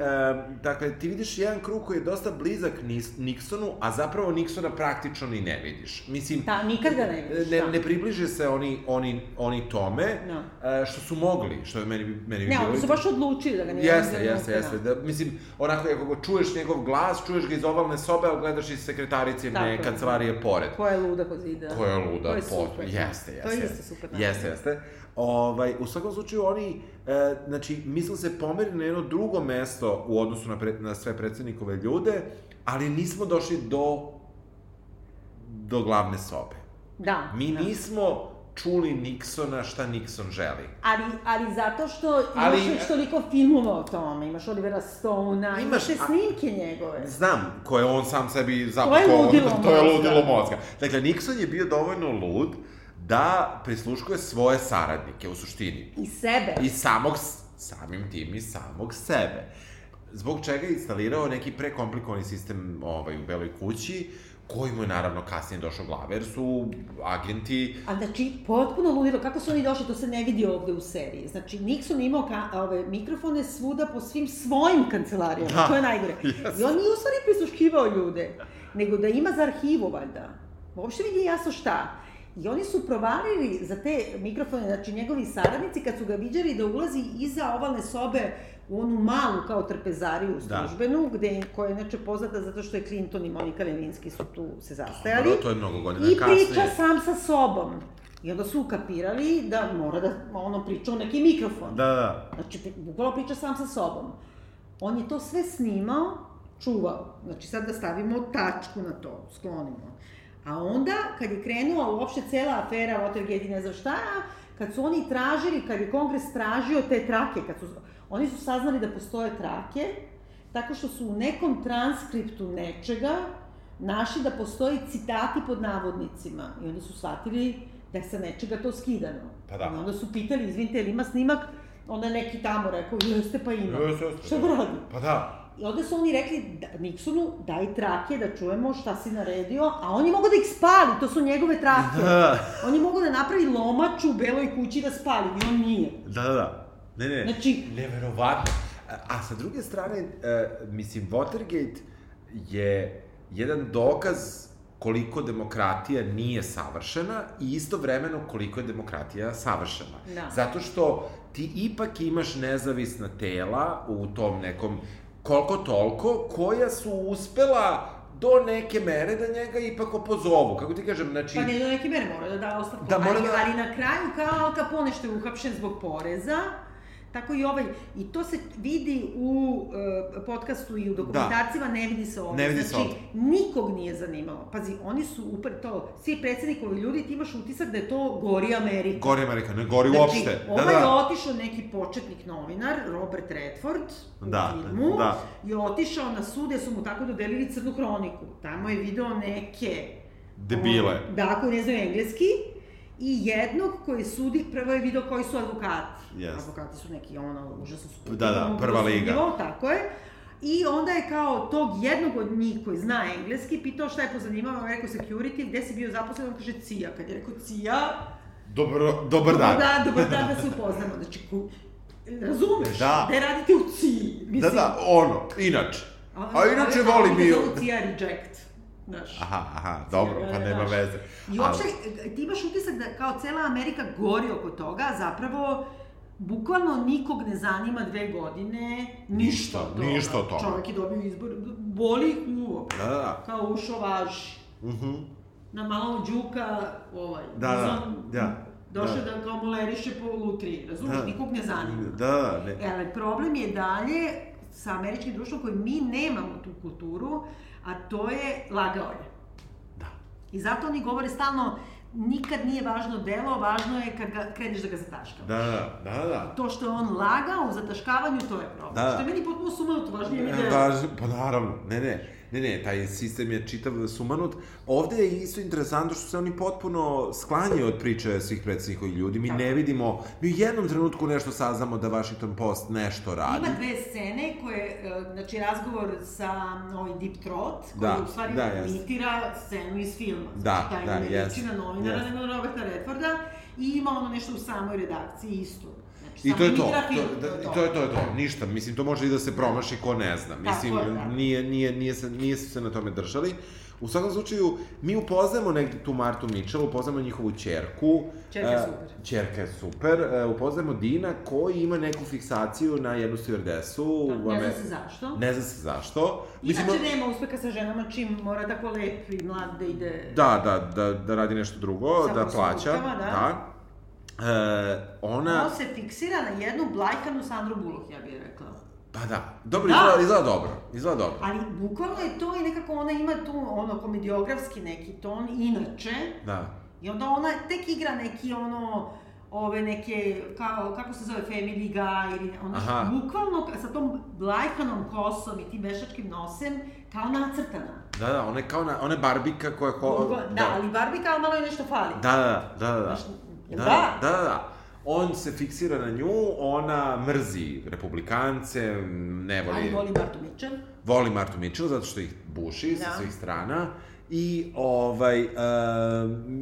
dakle, ti vidiš jedan krug koji je dosta blizak Nis- Nixonu, a zapravo Nixona praktično ni ne vidiš. Mislim, Da, nikad ga ne vidiš. ne, da. ne približe se oni, oni, oni tome Da. e, što su mogli, što je meni, meni bi Ne, bilo... oni su baš odlučili da ga ne Jeste, jeste, jeste. Da, mislim, onako, ako ga čuješ njegov glas, čuješ ga iz ovalne sobe, ali gledaš iz sekretarice Tako je. ne, kancelarije pored. Koja je luda kod zida. Koja je luda, To je pot- super. Jeste, da. jeste. To je jeste. isto super. da. Jeste, jeste. Ovaj, u svakom slučaju oni, e, znači, mislim se pomeri na jedno drugo mesto u odnosu na, pre, na sve predsednikove ljude, ali nismo došli do, do glavne sobe. Da. Mi da. nismo čuli Nixona šta Nixon želi. Ali, ali zato što imaš Ali- već toliko filmova o tome, imaš Olivera Stona, imaš Imaš, te a- snimke njegove. Znam koje on sam sebi zapakovao. ludilo to je mozga. ludilo mozga. Dakle, Nixon je bio dovoljno lud da prisluškuje svoje saradnike, u suštini. I sebe. I samog, s- samim tim i samog sebe. Zbog čega je instalirao neki prekomplikovani sistem ovaj, u Beloj kući, koji mu je naravno kasnije došao glave, jer su agenti A znači, potpuno ludilo, kako su oni došli, to se ne vidi ovde u seriji. Znači, Nixon je imao ka, ove, mikrofone svuda po svim svojim kancelarijama, Da, to je najgore. jes. I on nije u stvari prisluškivao ljude, nego da ima za arhivu, valjda. Uopšte mi nije jasno šta. I oni su provalili za te mikrofone, znači njegovi saradnici, kad su ga viđali da ulazi iza ovalne sobe u onu malu kao trpezariju Da. službenu, da. gde, koja je inače poznata zato što je Clinton i Monika Lewinsky su tu se zastajali. Pa Dobro, to je mnogo godina I kasnije. priča sam sa sobom. I onda su ukapirali da mora da ono priča u neki mikrofon. Da, da. Znači, pri- bukvalno priča sam sa sobom. On je to sve snimao, čuvao. Znači, sad da stavimo tačku na to, sklonimo. A onda, kad je krenula uopšte cela afera Watergate i ne znam šta, kad su oni tražili, kad je kongres tražio te trake, kad su, oni su saznali da postoje trake, tako što su u nekom transkriptu nečega našli da postoji citati pod navodnicima. I onda su shvatili da je sa nečega to skidano. Pa da. I onda su pitali, izvinite, jel ima snimak? Onda je neki tamo rekao, jeste pa ima. Jeste, jeste. Šta da radim? Pa da. I onda su oni rekli da, Nixonu, daj trake da čujemo šta si naredio, a on je mogao da ih spali, to su njegove trake. Da. On je mogao da napravi lomač u beloj kući da spali, i on nije. Da, da, da. Ne, ne. Znači- Neverovatno. A, a sa druge strane, e, mislim, Watergate je jedan dokaz koliko demokratija nije savršena i istovremeno koliko je demokratija savršena. Da. Zato što ti ipak imaš nezavisna tela u tom nekom koliko toliko koja su uspela do neke mere da njega ipak opozovu. Kako ti kažem, znači... Pa ne do neke mere mora da da ostavku. Da, mora ali, da- ali na kraju kao Al Capone što je uhapšen zbog poreza, tako i ovaj. I to se vidi u e, podcastu i u dokumentarcima, da. ne vidi se ovde. Ne vidi se znači, ovde. nikog nije zanimalo. Pazi, oni su upar to, svi predsednikovi ljudi, ti imaš utisak da je to gori Amerika. Gori Amerika, ne gori Znači, uopšte. Da, ovaj je otišao neki početnik novinar, Robert Redford, u Da, filmu, da. je otišao na sud, jer su mu tako dodelili crnu hroniku. Tamo je video neke... Debile. ono, Da, koji ne znaju engleski, i jednog koji sudi, prvo je video koji su advokati. Jeste. Advokati su neki, ono, užasno su... Da, da, prva liga. Sudljivo, tako je. I onda je kao tog jednog od njih koji zna engleski, pitao šta je pozanimalo, on je rekao security, gde si bio zaposlen, on kaže CIA. Kad je rekao CIA, Dobro, dobar dan. Da, dobar dan da se upoznamo. Znači, ku, razumeš? Da. Da radite u CIA. Mislim, Da, da, ono, inače. A, A inače ali- volim ali i... zovu CIA reject. Znaš. Aha, aha, dobro, Da, pa da, nema znaš. veze. I uopšte, ti imaš utisak da kao cela Amerika gori oko toga, a zapravo bukvalno nikog ne zanima dve godine ništa Ništa, od toga. ništa od toga. Čovjek je dobio izbor, boli ih uvo. Da, da, da. Kao ušo važi. Mhm. Na malo đuka, ovaj, Da, da, Bison da, Došao da. da kao moleriše po lutriji, razumiješ, Da. nikog ne zanima. Da, da, ne. E, ali problem je dalje sa američkim društvom koji mi nemamo tu kulturu, a to je lagao je. Da. I zato oni govore stalno, nikad nije važno delo, važno je kad ga, kreneš da ga zataškavaš. Da, da, da, da. To što je on lagao u zataškavanju, to je problem. Da. Pa, Što je meni potpuno sumanuto, važnije mi delo. Važno, pa E, naravno, ne, ne. Ne, ne, taj sistem je čitav sumanut. Ovde je isto interesantno što se oni potpuno sklanjaju od priče svih predsednikovih ljudi. Mi ne vidimo, mi u jednom trenutku nešto saznamo da Washington Post nešto radi. Ima dve scene koje, e, znači razgovor sa ovaj Deep Throat, koji Da, da, u stvari da, da, jeste. imitira scenu iz filma. Da, znači, taj da, ne jeste, liči na novinara, jeste. nego na Roberta Redforda. I ima ono nešto u samoj redakciji isto. Znači, I to je to, imitira to, film, da, i to je to, je to, ništa, mislim, to može i da se promaši ko ne zna, Tako mislim, je, da. nije, nije, nije, se, nije su se na tome držali. U svakom slučaju, mi upoznajemo negde tu Martu Mitchell, upoznajemo njihovu čerku. Ćerka je E, super. Čerka je super, e, upoznajemo Dina koji ima neku fiksaciju na jednu stewardesu. Da, u ne zna Ame- se zašto. Ne zna se zašto. Inače on- nema uspeha sa ženama čim mora tako lep i mlad da ide... Da, da, da, da radi nešto drugo, Sa da plaća. prostitutkama, da. da. E, ona... Ona se fiksira na jednu blajkanu Sandru Bullock, ja bih rekla. Pa da, dobro, Da. izgleda, izgleda dobro, izgleda dobro. Ali bukvalno je to i nekako ona ima tu ono komediografski neki ton, inače. Da. I onda ona tek igra neki ono ove neke, kao, kako se zove, Family Guy ili ono Aha. što, bukvalno sa tom blajkanom kosom i tim vešačkim nosem, kao nacrtana. Da, da, ona je kao na, ona je barbika koja ho... Bukva- da, ali Barbie kao malo je nešto fali. Da, da, da, da. Da, Jel da, da? da, da. On se fiksira na nju, ona mrzi republikance, ne voli... Ali voli Martu Mitchell. voli Martu Mitchell zato što ih buši da. sa Da. svih strana i ovaj e,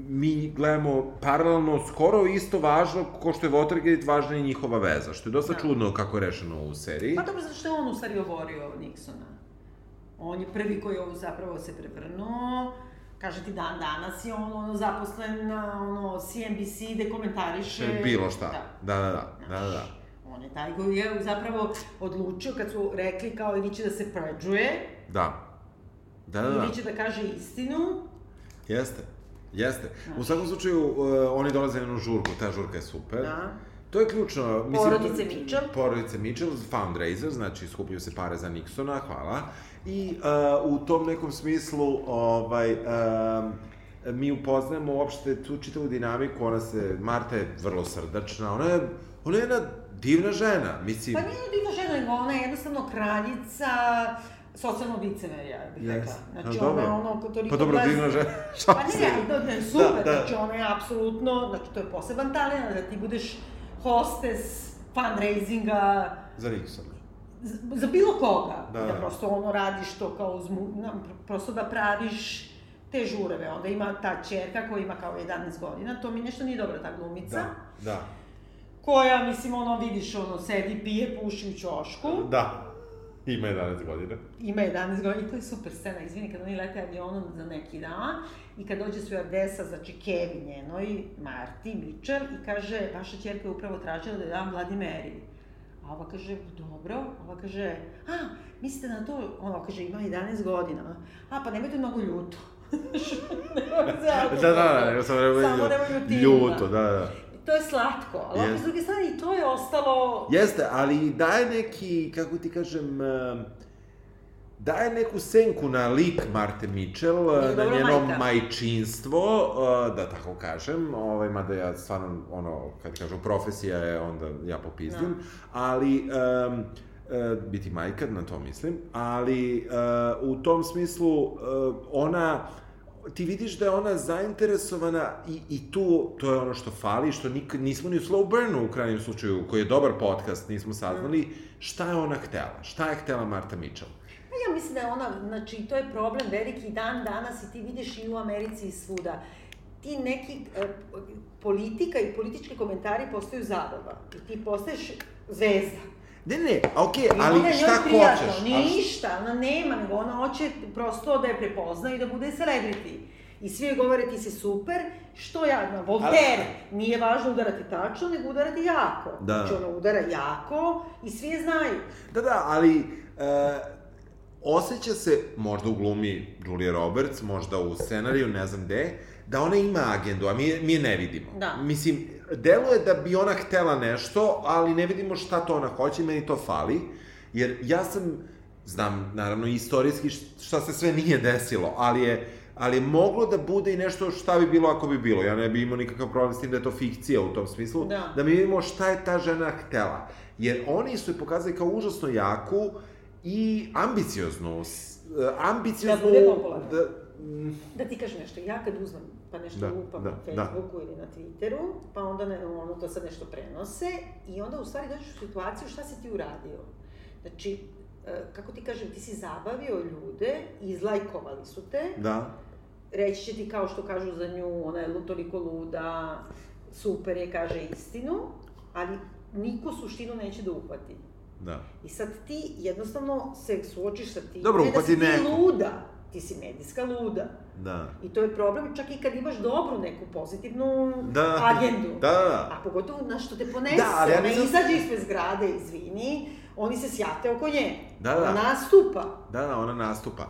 mi gledamo paralelno skoro isto važno ko što je Watergate važna je njihova veza što je dosta da. Da. čudno kako je rešeno u seriji Pa dobro, zato što je on u stvari oborio Nixona. On je prvi koji je ovo zapravo se prevrnuo. Kaže ti dan danas je on ono zaposlen na ono, CNBC gde komentariše... Znači, bilo šta da da da da da, da. On je taj koji je zapravo odlučio kad su rekli kao ili će da se pređuje, da. Da, da, da, da. ili će da kaže istinu. Jeste. Jeste. Da. U svakom slučaju, uh, oni dolaze na jednu žurku, ta žurka je super. Da. To je ključno. Porodice to- Mitchell. Porodice Mitchell, fundraiser, znači skupljaju se pare za Nixona, hvala. I uh, u tom nekom smislu, ovaj, um, mi upoznajemo uopšte tu čitavu dinamiku, ona se, Marta je vrlo srdačna, ona je, ona je jedna divna žena, mislim. Pa nije ona divna žena, nego ona je jednostavno kraljica socijalnog licemerja, bih Jes. rekla. Znači, A, dobro. ona ono, ko toliko... Pa dobro, gleda- divna žena, Pa šta ne, se- ali to je super, Da, da. znači ona je apsolutno, znači to je poseban talent, da ti budeš hostes fundraisinga Za Nixona. z- za bilo koga, Da, da, da. da prosto ono radiš to kao uzmu, na, prosto da praviš te žureve, onda ima ta čerka koja ima kao 11 godina, to mi nešto nije dobro, ta glumica, Da, da. da, koja, mislim, ono, vidiš, ono, sedi, pije, puši u čošku, da. Ima 11 godina. ima 11 godina i to je super scena, izvini, kad oni lete avionom za neki dan i kad dođe su Ardesa, znači Kevi njenoj, Marti, Mitchell i kaže, vaša čerka je upravo tražila da je dam Bloody Mary. A ova kaže, dobro, ova kaže, a, mislite na to, ona kaže, ima 11 godina, a pa nemojte mnogo ljuto. Da, da, da, ja sam rekao, Samo nemoj ljuto, ljutinu, ljuto, da. da, da. To je slatko, ali opet Jest. s druge strane i to je ostalo... Jeste, ali daje neki, kako ti kažem, em, daje neku senku na lik Marte Mitchell, Nije na dobra njeno majka. majčinstvo, eh, da tako kažem, ovaj, mada ja stvarno, ono, kad kažu profesija je, onda ja popizdim, Da. ali... Um, biti majka, na to mislim, ali uh, u tom smislu uh, ona ti vidiš da je ona zainteresovana i, i tu, to je ono što fali, što nik, nismo ni u Slow Burnu u krajnjem slučaju, koji je dobar podcast, nismo saznali Mm. šta je ona htela, šta je htela Marta Mitchell. Pa ja mislim da je ona, znači, to je problem veliki dan danas i ti vidiš i u Americi i svuda. Ti neki, e, politika i politički komentari postaju zabava. I ti postaješ zvezda. Ne, ne, a okej, I ali onda je njoj šta prijatno, hoćeš? Nije ali šta- ništa, ona nema, nego ona hoće prosto da je prepozna i da bude celebrity. I svi joj govore ti si super, što ja, Voltaire, nije važno udarati tačno, nego udarati jako. Da. Znači ona udara jako i svi je znaju. Da, da, ali e, osjeća se, možda u glumi Julia Roberts, možda u scenariju, ne znam gde, da ona ima agendu, a mi je, mi je ne vidimo. Da. Mislim, deluje da bi ona htela nešto, ali ne vidimo šta to ona hoće i meni to fali. Jer ja sam, znam, naravno, istorijski š- šta se sve nije desilo, ali je ali je moglo da bude i nešto šta bi bilo ako bi bilo. Ja ne bi imao nikakav problem s tim da je to fikcija u tom smislu, Da. da mi vidimo šta je ta žena htela. Jer oni su je pokazali kao užasno jaku i ambicioznu, s- e, ambicioznu... bude popularna. da, mm, Da ti kažem nešto, ja kad uzmem pa nešto Da, da, lupam da, na da. Facebooku ili na Twitteru, pa onda ne, ono to sad nešto prenose i onda u stvari dođeš u situaciju šta si ti uradio. Znači, e, kako ti kažem, ti si zabavio ljude, izlajkovali su te, da. reći će ti kao što kažu za nju, ona je lu- toliko luda, super je, kaže istinu, ali niko suštinu neće da uhvati. Da. I sad ti jednostavno se suočiš sa tim Dobro, ne da uhvati si ti neko. luda, ti si medijska luda. Da. I to je problem čak i kad imaš dobru neku pozitivnu Da. agendu. Da, da, da. A pogotovo na što te ponese, Da, ali ja ona nisam- izađe ispred zgrade, izvini, oni se sjate oko nje. Da, da. Nastupa. Da, da, ona nastupa.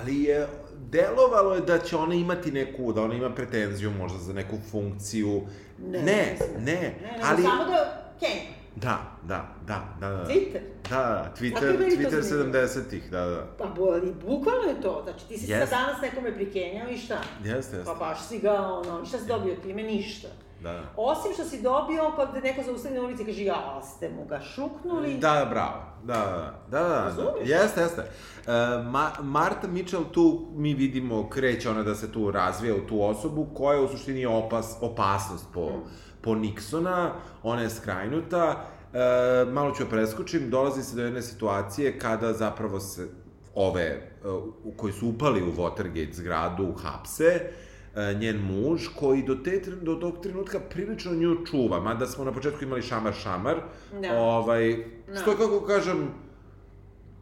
Ali je, delovalo je da će ona imati neku, da ona ima pretenziju možda za neku funkciju. Ne, Ne, ne, mislim. ne Ne, nego ali... samo da, okej, Da, da, da, da, da. Twitter. Da, da, Zato je Twitter, meni to Twitter zanimljivo. 70-ih, da, da. Pa bo, ali bukvalno je to, znači ti si Jeste. yes. sad danas nekome prikenjao i šta? Jeste, jeste. Pa baš si ga, ono, i šta si dobio time? Ništa. Da, da. Osim što si dobio, pa te neko zaustavi na ulici i kaže, ja, ste mu ga šuknuli. Da, bravo. Da, da, da, da, da. Razumeš? Jeste, jeste. E, Ma, Marta Mitchell tu, mi vidimo, kreće ona da se tu razvija u tu osobu koja je u suštini opas, opasnost po, po Nixona, ona je skrajnuta. E, malo ću joj preskočim, dolazi se do jedne situacije kada zapravo se ove e, u- koji su upali u Watergate zgradu hapse, e, njen muž koji do, te, tren- do tog trenutka prilično nju čuva, mada smo na početku imali šamar šamar, Da. Ovaj, Da. što je, kako kažem,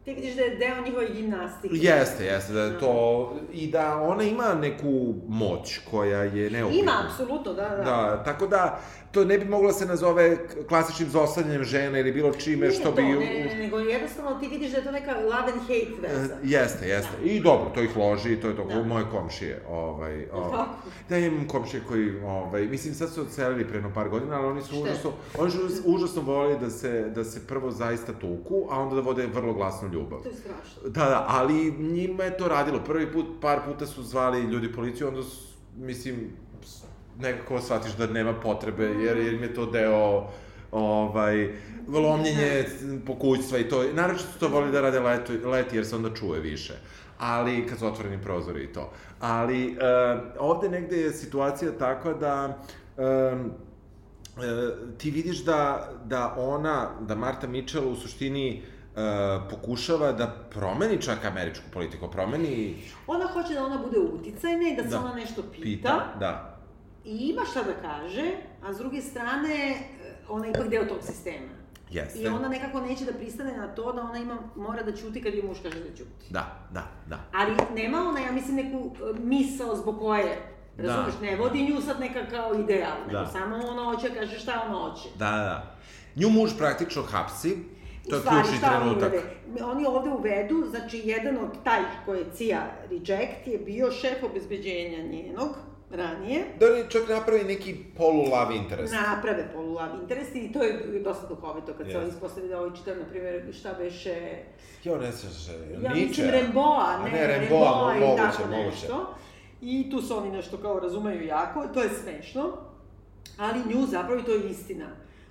Ti vidiš da je deo njihove gimnastike. jeste, jeste, da je to, i da ona ima neku moć koja je neupitna. Ima, apsolutno, da, da. Da, tako da, to ne bi moglo da se nazove k- klasičnim zostavljanjem žene ili bilo čime Nije što to, bi... Ne, ne, nego jednostavno ti vidiš da je to neka love and hate veza. E, Jeste, jeste. I dobro, to ih loži, to je to, Da. moje komšije, ovaj, ovaj. tako? Da, ja imam komšije koji, ovaj, mislim, sad su odselili pre jedno par godina, ali oni su Šta? užasno, oni su užasno volili da se, da se prvo zaista tuku, a onda da vode vrlo glasnu ljubav. To je strašno. Da, da, ali njima je to radilo. Prvi put, par puta su zvali ljudi policiju, onda su, mislim, s- nekako shvatiš da nema potrebe, Mm. jer, jer im je to deo ovaj, lomljenje Da. pokućstva i to. Naravno su to voli da rade leto, leti, jer se onda čuje više. Ali, kad su otvoreni prozori i to. Ali, e, ovde negde je situacija takva da... E, e, ti vidiš da, da ona, da Marta Mitchell u suštini e, pokušava da promeni čak američku politiku, promeni Ona hoće da ona bude uticajna i da se Da. ona nešto pita, pita, da. i ima šta da kaže, a s druge strane, e, ona je ipak deo tog sistema. Jeste. I ona nekako neće da pristane na to da ona ima, mora da ćuti kad joj muž kaže da ćuti. Da, da, da. Ali nema ona, ja mislim, neku e, misao zbog koje, Da. razumeš, ne vodi nju sad neka kao ideal, nego Da. samo ona hoće da kaže šta ona hoće. Da, da, da. Nju muž praktično hapsi, U to je stvari, ključni šta oni trenutak. uvode? Oni ovde uvedu, znači jedan od taj koji je CIA reject je bio šef obezbeđenja njenog, ranije, Da li čak napravi neki polu-love interest? naprave polulav interes i to je dosta duhovito kad se Jeste. oni ispostavi da ovi čitaju, na primjer, šta beše, Ja ne znam se, Niče. ja mislim Remboa, A ne, ne, Remboa, Remboa ili moguće, tako moguće. nešto. I tu se oni nešto kao razumeju jako, to je smešno, ali nju zapravo i to je istina.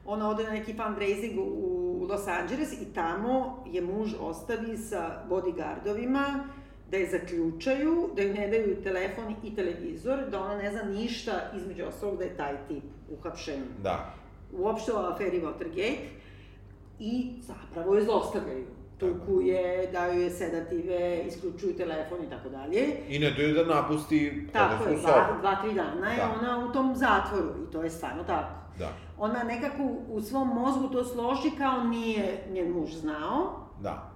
Ona ode na neki fundraising u- u Los Angeles i tamo je muž ostavi sa bodyguardovima da je zaključaju, da joj ne daju telefon i televizor, da ona ne zna ništa, između ostalog da je taj tip uhapšen Da, uopšte o aferi Watergate i zapravo je zlostavljaju. Tuku je, daju je sedative, isključuju telefon i tako dalje. i ne daju da napusti Tako je, odnosno dva, sobu. dva, tri dana je Da. ona u tom zatvoru i to je stvarno tako. Da, Ona nekako u svom mozgu to složi kao nije njen muž znao, da,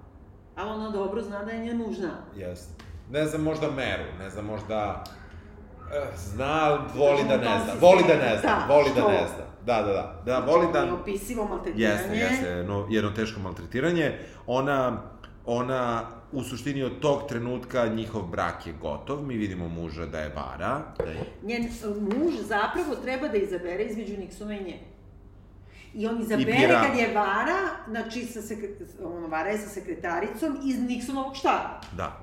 ali ona dobro zna da je njen muž znao. jeste. Ne znam, možda meru, ne znam, možda... eh, Zna, ali voli da ne zna, voli da ne zna, Da, voli da što? ne zna. Da, da, da, da, voli da... Neopisivo Znači, maltretiranje. Jeste, jeste, no, jedno teško maltretiranje. Ona, ona, u suštini od tog trenutka njihov brak je gotov, mi vidimo muža da je vara, da je... Njen e, muž zapravo treba da izabere između Nixona i nje. I on izabere bira. kad je Vara, znači sa sekre, ono, Vara je sa sekretaricom iz Nixonovog štaba. Da,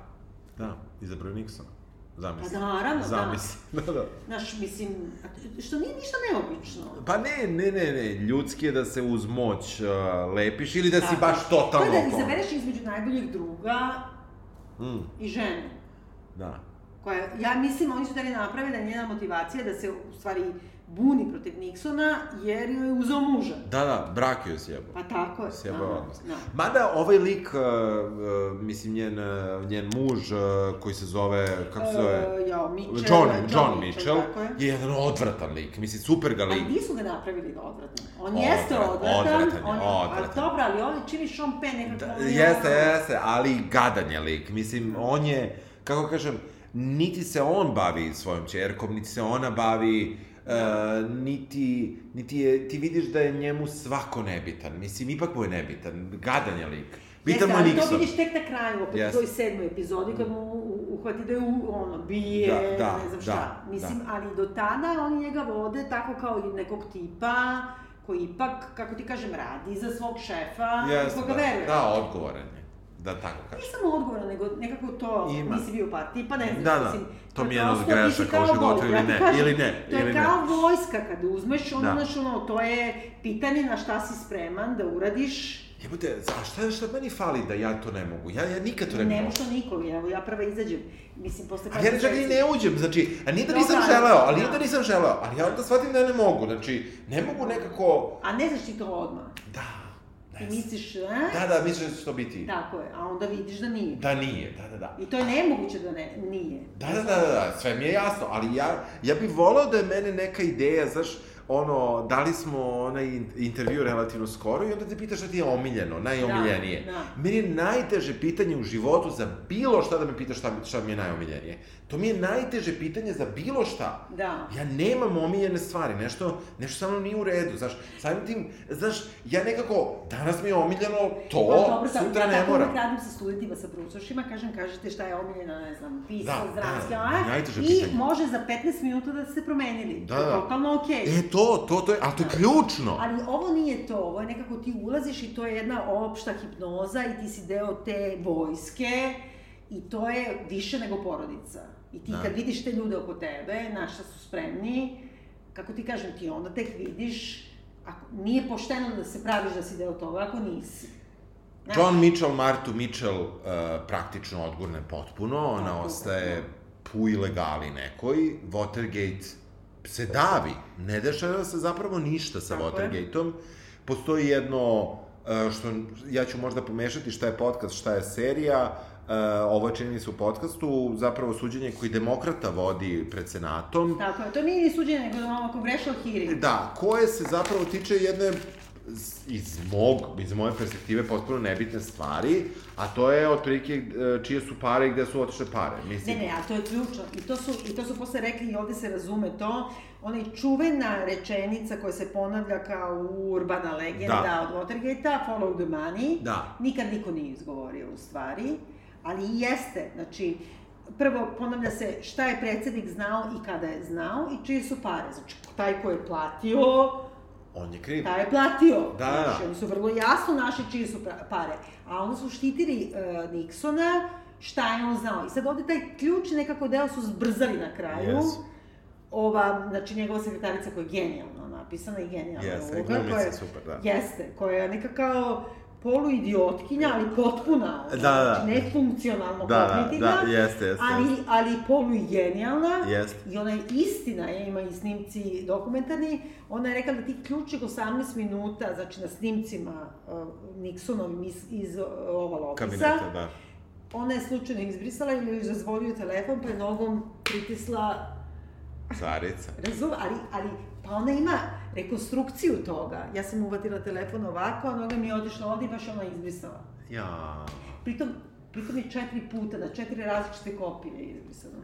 da, izabrao je Nixona. Zamisli. Pa naravno, da. Zamisli. da, da. Znaš, mislim, što nije ništa neobično. Pa ne, ne, ne, ne, ljudski je da se uz moć uh, lepiš ili da, si Da. baš totalno... To je da oklon. izabereš između najboljeg druga Mm, i žene. da. Koja, ja mislim, oni su dali naprave da je njena motivacija da se u stvari buni protiv Nixona jer joj je uzao muža. Da, da, brak joj sjebao. Pa tako je. Sjebao da, odnos. Da. Mada ovaj lik, uh, uh, mislim, njen, uh, njen muž uh, koji se zove, kako se zove? E, jao, Mitchell, John, John John Mitchell, Mitchell, tako je. je jedan odvratan lik. Mislim, super ga Ali lik. nisu ga napravili da odvratno. On Odvratan, jeste odvratan. odvratan je, on, odvratan. A dobro, ali on je čini Sean Penn nekako... Da, on je jeste, ono- jeste, ali gadan je lik. Mislim, on je, kako kažem, niti se on bavi svojom čerkom, niti se ona bavi, Da. uh, niti, niti je, ti vidiš da je njemu svako nebitan. Mislim, ipak mu je nebitan. Gadan je lik. Bitan mu Jeste, je ali to Nixon. vidiš tek na kraju, opet Jeste. u toj sedmoj epizodi, kad mu u- uhvati da je u- ono, bije, Da, da, ne znam šta. da, Mislim, ali do tada oni njega vode tako kao i nekog tipa koji ipak, kako ti kažem, radi za svog šefa yes, Jeste, koga veruje. da, da, odgovoran je. Da tako Ne kažem. samo Pa odgovorna, nego nekako to, Ima. nisi bio partiji, pa ne znam, Da, da. mislim, To mi je je jedna od prosto, nisi grešaka u kao životu, vojska, ili ja ti ne, kažem, ili ne, To je ili ne. kao vojska, kad uzmeš, ono, Da. znaš, ono, to je pitanje na šta si spreman da uradiš, Jebote, a šta, šta meni fali da ja to ne mogu? Ja, ja nikad to ne, bi Ne da mogao. može niko, evo ja prva izađem. Mislim, posle A ja da čak i ne uđem, znači, a nije da Dobro, nisam ali- želeo, ali nije da. da nisam želeo, ali ja onda shvatim da ne mogu, znači, ne mogu nekako, A ne znaš ti to odmah. da, Ti ne znam. misliš, a? Da, da, misliš da će to biti. Tako je, a onda vidiš da nije. Da nije, da, da, da. I to je nemoguće da ne, nije. Da, da, da, da, da, sve mi je jasno, ali ja, ja bih volao da je mene neka ideja, znaš, ono, dali smo onaj in- intervju relativno skoro i onda te pitaš šta ti je omiljeno, najomiljenije. Da, da. Meni je najteže pitanje u životu za bilo šta da me pitaš šta, mi- šta mi je najomiljenije. To mi je najteže pitanje za bilo šta. Da. Ja nemam omiljene stvari, nešto, nešto sa mnom nije u redu, znaš, samim tim, znaš, ja nekako, danas mi je omiljeno to, Pa dobro, sam- sutra ja ne tako moram. uvek radim sa studentima, sa brucošima, kažem, kažete šta je omiljena, ne znam, pisa, Da, da, da, zdravske, najteže I pitanje. može za 15 minuta da ste promenili. Da, To je da. Totalno okej. E, to, to, to je, ali to je Da. ključno. Ali ovo nije to, ovo je nekako ti ulaziš i to je jedna opšta hipnoza i ti si deo te vojske i to je više nego porodica. I ti Da. kad vidiš te ljude oko tebe, na šta su spremni, kako ti kažem ti, onda tek vidiš, ako, nije pošteno da se praviš da si deo toga ako nisi. Znaš, John Mitchell, Martu Mitchell uh, praktično odgurne potpuno, ona Tako, da. ostaje pu ilegali nekoj, Watergate se davi, ne dešava se zapravo ništa sa Tako je. Watergateom. Postoji jedno, uh, što ja ću možda pomešati šta je podcast, šta je serija, uh, ovo je čini mi se u podcastu, zapravo suđenje koji demokrata vodi pred senatom, Tako je, to nije ni suđenje, nego da ono congressional hearing. Da, koje se zapravo tiče jedne z- iz mog, iz moje perspektive potpuno nebitne stvari, a to je otprilike e, čije su pare i gde su otišle pare. Ne, Mislim, ne, a to je ključno. I to su, i to su posle rekli i ovde se razume to. Ona i čuvena rečenica koja se ponavlja kao urbana legenda da. od Watergate-a, follow the money, Da. nikad niko nije izgovorio u stvari, ali i jeste, znači, prvo ponavlja se šta je predsednik znao i kada je znao i čije su pare. Znači, taj ko je platio, on je kriv. Taj je platio. Da, da. Znači, oni su vrlo jasno našli čiji su pra- pare. A onda su štitili uh, Nixona, šta je on znao. I sad ovde taj ključ nekako deo su zbrzali na kraju. Yes. Ova, znači njegova sekretarica koja je genijalno napisana i genijalna Jeste, uloga. glumica koja je- super, da. Jeste, koja je neka kao poluidiotkinja, ali potpuna. ono, Da, da. Znači, nefunkcionalno Da, da, kognitivna, da, jeste, jeste, Ali, jeste. ali polugenijalna. Jeste. I ona je istina, je, ima i snimci dokumentarni, ona je rekla da ti ključnih 18 minuta, znači na snimcima uh, Nixonovim iz, iz uh, ovala opisa, Kabinete, da. ona je slučajno izbrisala ili joj zazvonio telefon, pa je nogom pritisla, Carica. razum, ali, ali pa ona ima rekonstrukciju toga. Ja sam uvatila telefon ovako, a noga mi je otišla ovde i baš ona je izbrisala. Ja. Pritom, pritom je četiri puta, na četiri različite kopije je izbrisano.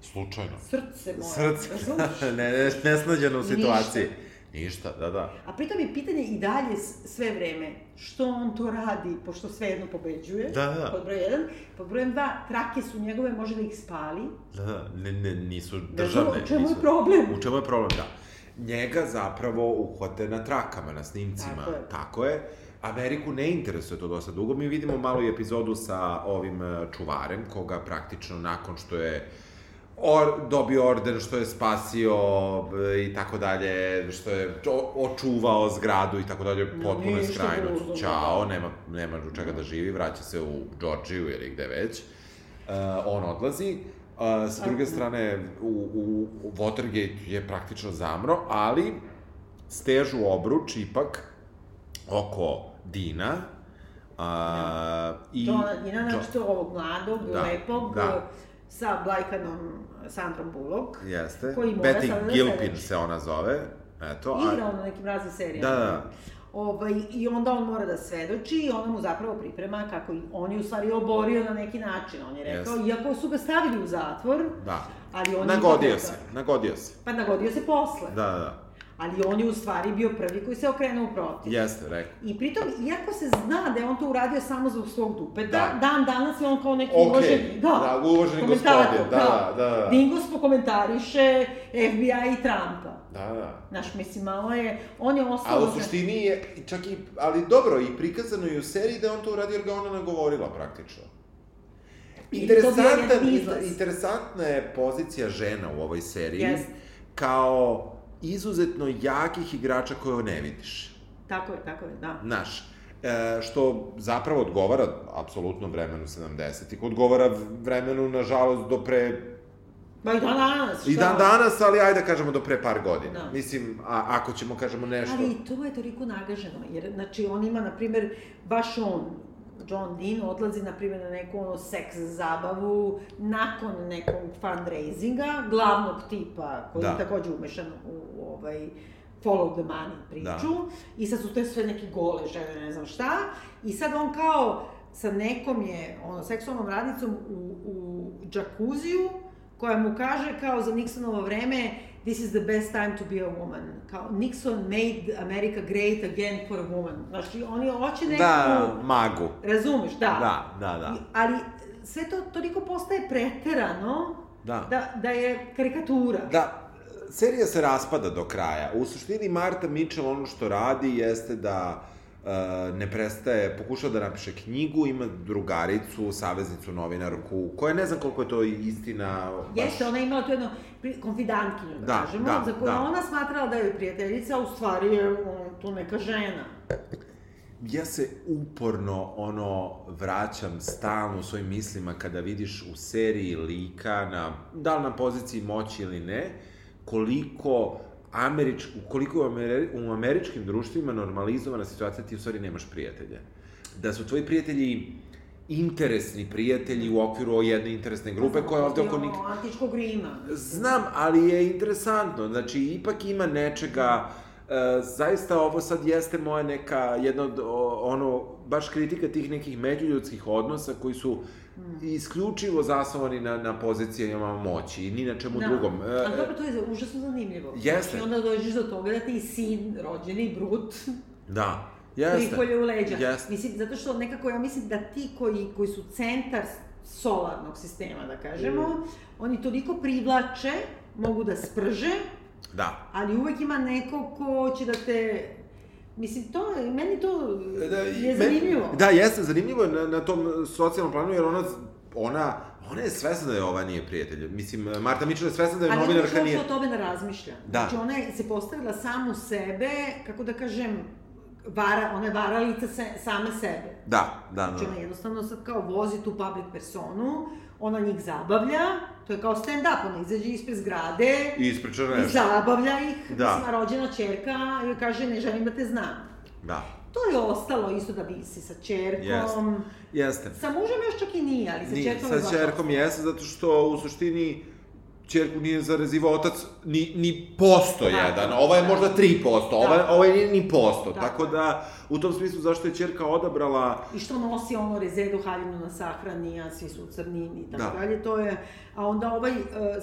Slučajno. Srce moje, Srce. da. razumeš? ne, ne, nesnađeno u Ništa. situaciji. Ništa, da, da. A pritom je pitanje i dalje s- sve vreme, što on to radi, pošto svejedno pobeđuje, Da, da. pod broj 1, pod brojem 2, trake su njegove, može da ih spali, Da, da, ne, ne, nisu Državne, državne. u čemu je nisu- problem? U čemu je problem, da. Njega zapravo uhvate na trakama, na snimcima. Tako je. Tako je. Ameriku ne interesuje to dosta dugo. Mi vidimo malu epizodu sa ovim e, čuvarem, koga praktično nakon što je or, dobio orden što je spasio b- i tako dalje, što je o- očuvao zgradu i tako dalje, potpuno je ništa skrajno. drugo, da. Ćao, nema, nema od čega da živi, vraća se u Georgiju ili gde već. E, on odlazi. E, sa druge strane, u, u, u Watergate je praktično zamro, ali stežu obruč ipak oko Dina. A, i, To, ona- I na Jo- naročito ovog mladog, Da, da, lepog, da. da. sa Blajkanom Sandrom Bullock. Jeste. Koji mora Betty sada da Gilpin sledeći. se ona zove. Eto, a... Igra on na nekim raznim serijama. Da, da. Ovaj, I onda on mora da svedoči i ona mu zapravo priprema kako i- on je u stvari oborio na neki način, on je rekao, Jeste. iako su ga stavili u zatvor, Da. ali on je Nagodio ipak- se, nagodio se. Pa nagodio se posle, Da, da, da. ali on je u stvari bio prvi koji se okrenuo protiv. Jeste, rekao. I pritom, iako se zna da je on to uradio samo zbog svog dupeta, Da. da. dan danas je on kao neki Okej, okay. uloženi, da, da, uvaženi komentator, gospodin, da, da, da, da. Dingos pokomentariše FBI i Trumpa. Da, da. Znaš, mislim, malo je, on je ostao... A u suštini je, i čak i, ali dobro, i prikazano je u seriji da je on to uradio jer ga ona nagovorila praktično. I to bio jedan Interesantan, izlaz. interesantna je pozicija žena u ovoj seriji Jeste. kao izuzetno jakih igrača koje ne vidiš. Tako je, tako je, da. Naš. E, što zapravo odgovara apsolutno vremenu 70-ih, odgovara vremenu, nažalost, do pre... Ba i dan danas, I šta? dan danas, ali ajde da kažemo do pre par godina. Da. Mislim, a, ako ćemo kažemo nešto... Ali i to je toliko nagaženo, jer znači on ima, na primjer, baš on, John Dean odlazi, na primjer, na neku ono seks zabavu nakon nekog fundraisinga, glavnog tipa, koji Da. je takođe umešan u, u ovaj follow the money priču. Da. I sad su te sve neke gole žene, ne znam šta. I sad on kao sa nekom je, ono, seksualnom radnicom u, u džakuziju, koja mu kaže kao za Nixonovo vreme this is the best time to be a woman. Kao Nixon made America great again for a woman. Znači, oni hoće neku... Da, magu. Razumeš, da. Da, da, da. I, ali sve to toliko postaje preterano Da. da, da je karikatura. Da, serija se raspada do kraja. U suštini Marta Mitchell ono što radi jeste da e, ne prestaje, pokušava da napiše knjigu, ima drugaricu, saveznicu, novinarku, koja ne znam koliko je to istina. baš- Jeste, ona je imala tu jednu pri- konfidantkinju, da, Da, kažemo, da, za koju da. da. ona smatrala da je joj prijateljica, a u stvari je on, tu neka žena. Ja se uporno ono vraćam stalno u svojim mislima kada vidiš u seriji lika na da li na poziciji moći ili ne koliko američ, koliko je u, ameri, u američkim društvima normalizovana situacija ti u stvari nemaš prijatelja. Da su tvoji prijatelji interesni prijatelji u okviru jedne interesne grupe koja je ovde oko nik... Ono, Antičkog Rima. Znam, ali je interesantno. Znači, ipak ima nečega... E, zaista ovo sad jeste moja neka, jedna od, o, ono, baš kritika tih nekih međuljudskih odnosa koji su isključivo zasnovani na, na pozicijama moći i ni na čemu Da. drugom. E, Ali dobro, to je za- užasno zanimljivo. Jeste. Znači, onda dođeš do toga da ti sin, rođeni, brut, da, jeste. prikolje u leđa. Jeste. Mislim, zato što nekako ja mislim da ti koji, koji su centar solarnog sistema, da kažemo, Mm. oni toliko privlače, mogu da sprže, Da. ali uvek ima neko ko će da te... Mislim, to, je- meni to da, E, i je meni- zanimljivo. Da, jeste, zanimljivo je na, na tom socijalnom planu, jer ona, ona, ona je svesna da je ova nije prijatelj. Mislim, Marta Mičel je svesna da je Ali ona novinarka nije... uopšte o tome ne razmišlja. Da. Znači, ona je se postavila samu sebe, kako da kažem, vara, ona je varalica se, same sebe. Da, da, da. Znači, ona jednostavno sad kao vozi tu public personu, ona njih zabavlja, to je kao stand-up, ona izađe ispred zgrade I ispričana i nešto. zabavlja ih, Da. da. mislim, a rođena čerka joj kaže ne želim da te znam. Da. To je ostalo isto da visi sa čerkom, Jeste. Jeste. Um, Sa mužem još čak i nije, ali sa Nije, čerkom je sa baš čerkom jeste, zato što u suštini čerku nije zarezivao otac ni, ni posto Da. jedan, ova je možda 3%, ova, Da. ova nije ni posto, Da. tako da u tom smislu zašto je čerka odabrala I što nosi ono rezedu haljinu na sahrani, a svi su u crnini i tako Da. da. dalje, to je... A onda ovaj uh,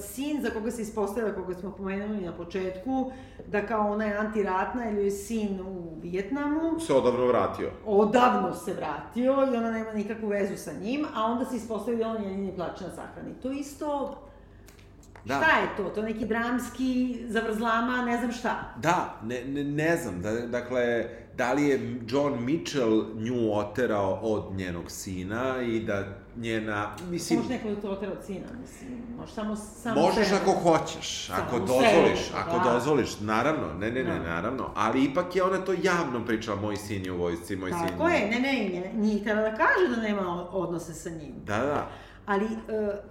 sin za koga se ispostavlja, koga smo pomenuli na početku, da kao ona je antiratna, jer joj je sin u Vijetnamu, se odavno vratio. odavno se vratio i ona nema nikakvu vezu sa njim, a onda se ispostavlja da on je jedini plaća na sahrani. To isto Da. Šta je to? To je neki dramski zavrzlama, ne znam šta. Da, ne, ne, ne znam, da, dakle, da li je John Mitchell nju oterao od njenog sina i da njena, mislim, Možeš neko da to otera od sina, mislim. Možeš samo, samo možeš sebe. ako hoćeš, Samo ako u dozvoliš, sebe, ako da. dozvoliš, naravno, ne, ne, ne, Da. naravno, ali ipak je ona to javno pričala, moj sin je u vojsci, moj sin Tako je, ne, ne, ne, nije htjela da kaže da nema o- odnose sa njim. Da, da, Ali, uh,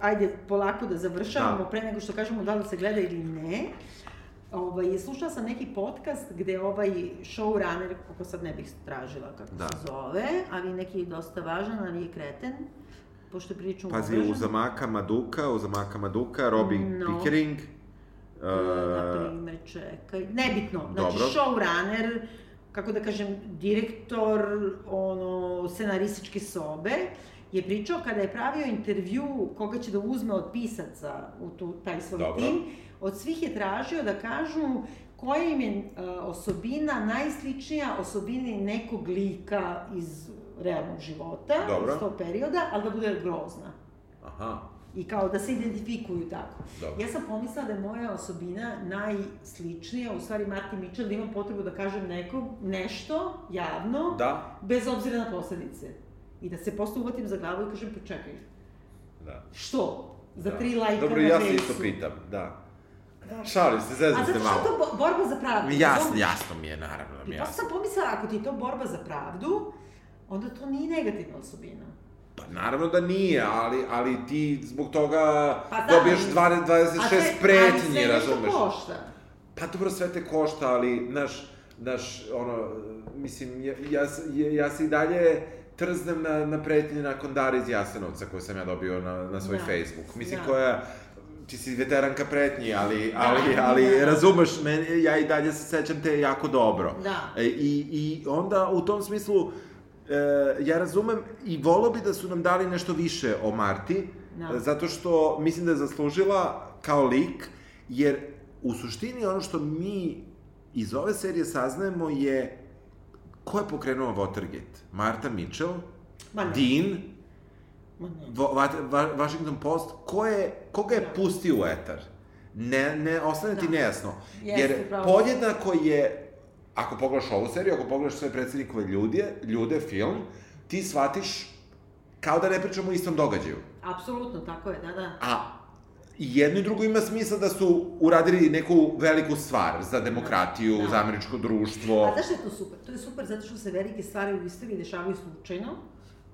ajde, polako da završavamo, Da. da. pre nego što kažemo da li se gleda ili ne. Ovaj, slušala sam neki podcast gde ovaj showrunner, kako sad ne bih tražila kako Da. da. se zove, ali neki dosta važan, ali je kreten, pošto je prilično pazi, uvažen. u zamaka Maduka, u zamaka Maduka, Robbie No. Pickering, E, uh, na primer, čekaj, nebitno, znači dobro. showrunner, kako da kažem, direktor ono, scenarističke sobe, je pričao kada je pravio intervju koga će da uzme od pisaca u tu, taj svoj Dobro. tim, od svih je tražio da kažu koja im je e, osobina najsličnija osobini nekog lika iz realnog života, Dobro. iz tog perioda, ali da bude grozna aha, i kao da se identifikuju tako. Dobro. Ja sam pomislila da je moja osobina najsličnija, u stvari Martin Mitchell, da imam potrebu da kažem nekom nešto javno, da, bez obzira na posledice. I da se posle uvatim za glavu i kažem, počekaj, da. što? Za da. tri lajka Dobro, na ja se Facebooku. isto pitam, da. Šalim se, A zezam se zato što malo. je to bo- borba za pravdu. Jasno, jasno mi je, naravno da mi I je posle jasno. sam pomislila, ako ti je to borba za pravdu, onda to nije negativna osobina. Pa naravno da nije, ali, ali ti zbog toga Pa da, dobiješ ali- 20, A 26 sve- ali sve pretnji, nešto razumeš? košta. Pa dobro, sve te košta, ali, znaš, znaš, ono, mislim, ja, ja, s- ja, ja se i dalje trznem na, na pretnje nakon Dara iz Jasenovca koju sam ja dobio na, na svoj Da. Facebook. Mislim, Da. koja, ti si veteranka pretnji, ali, ali, Da, ali da. razumeš, meni, ja i dalje se sećam te jako dobro. Da. E, I, I onda u tom smislu, e, ja razumem i volao bi da su nam dali nešto više o Marti, Da. e, zato što mislim da je zaslužila kao lik, jer u suštini ono što mi iz ove serije saznajemo je ko je pokrenuo Watergate? Marta Mitchell? Ma ne. Dean? Ma ne. Va, va, Va- Washington Post? Ko je, koga je Da. pustio u etar? Ne, ne, ostane ti Da. nejasno. Jeste, Jer pravo. podjednako je, ako pogledaš ovu seriju, ako pogledaš sve predsednikove ljude, ljude, film, ti shvatiš kao da ne pričamo o istom događaju. Apsolutno, tako je, da, da. A i jedno i drugo ima smisla da su uradili neku veliku stvar za demokratiju, Da. za američko društvo. A da- zašto je to super? To je super zato što se velike stvari u istoriji dešavaju slučajno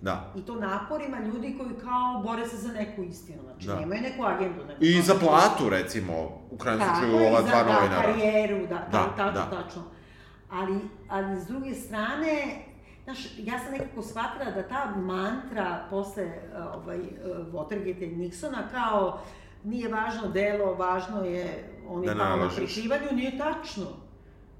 Da. i to naporima ljudi koji kao bore se za neku istinu, znači Da. da. nemaju neku agendu. Neku I za platu, recimo, u krajnjem slučaju ova dva Da, novinara. karijeru, da, Da, da, tačno, da. da. tačno. Ali, ali s druge strane, znaš, ja sam nekako shvatila da ta mantra posle eh, ovaj, eh, Watergate i Nixona kao nije važno delo, važno je oni Da da kao na naložiš. prikrivanju, nije tačno.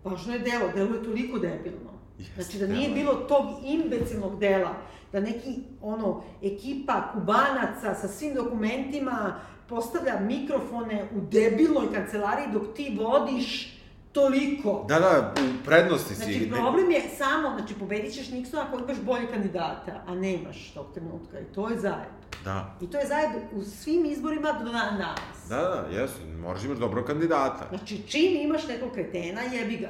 Važno je delo, delo je toliko debilno. Jeste, Znači da nije delo je. bilo tog imbecilnog dela, da neki ono ekipa kubanaca sa svim dokumentima postavlja mikrofone u debilnoj kancelariji dok ti vodiš toliko. Da, da, u prednosti si. Znači, Ne- problem je samo, znači, pobedit ćeš Nixona ako imaš bolje kandidata, a nemaš tog trenutka. I to je zajeb. Da. I to je zajeb u svim izborima do dan danas. Da, da, jesu, moraš imaš dobrog kandidata. Znači, čim imaš nekog kretena, jebi ga.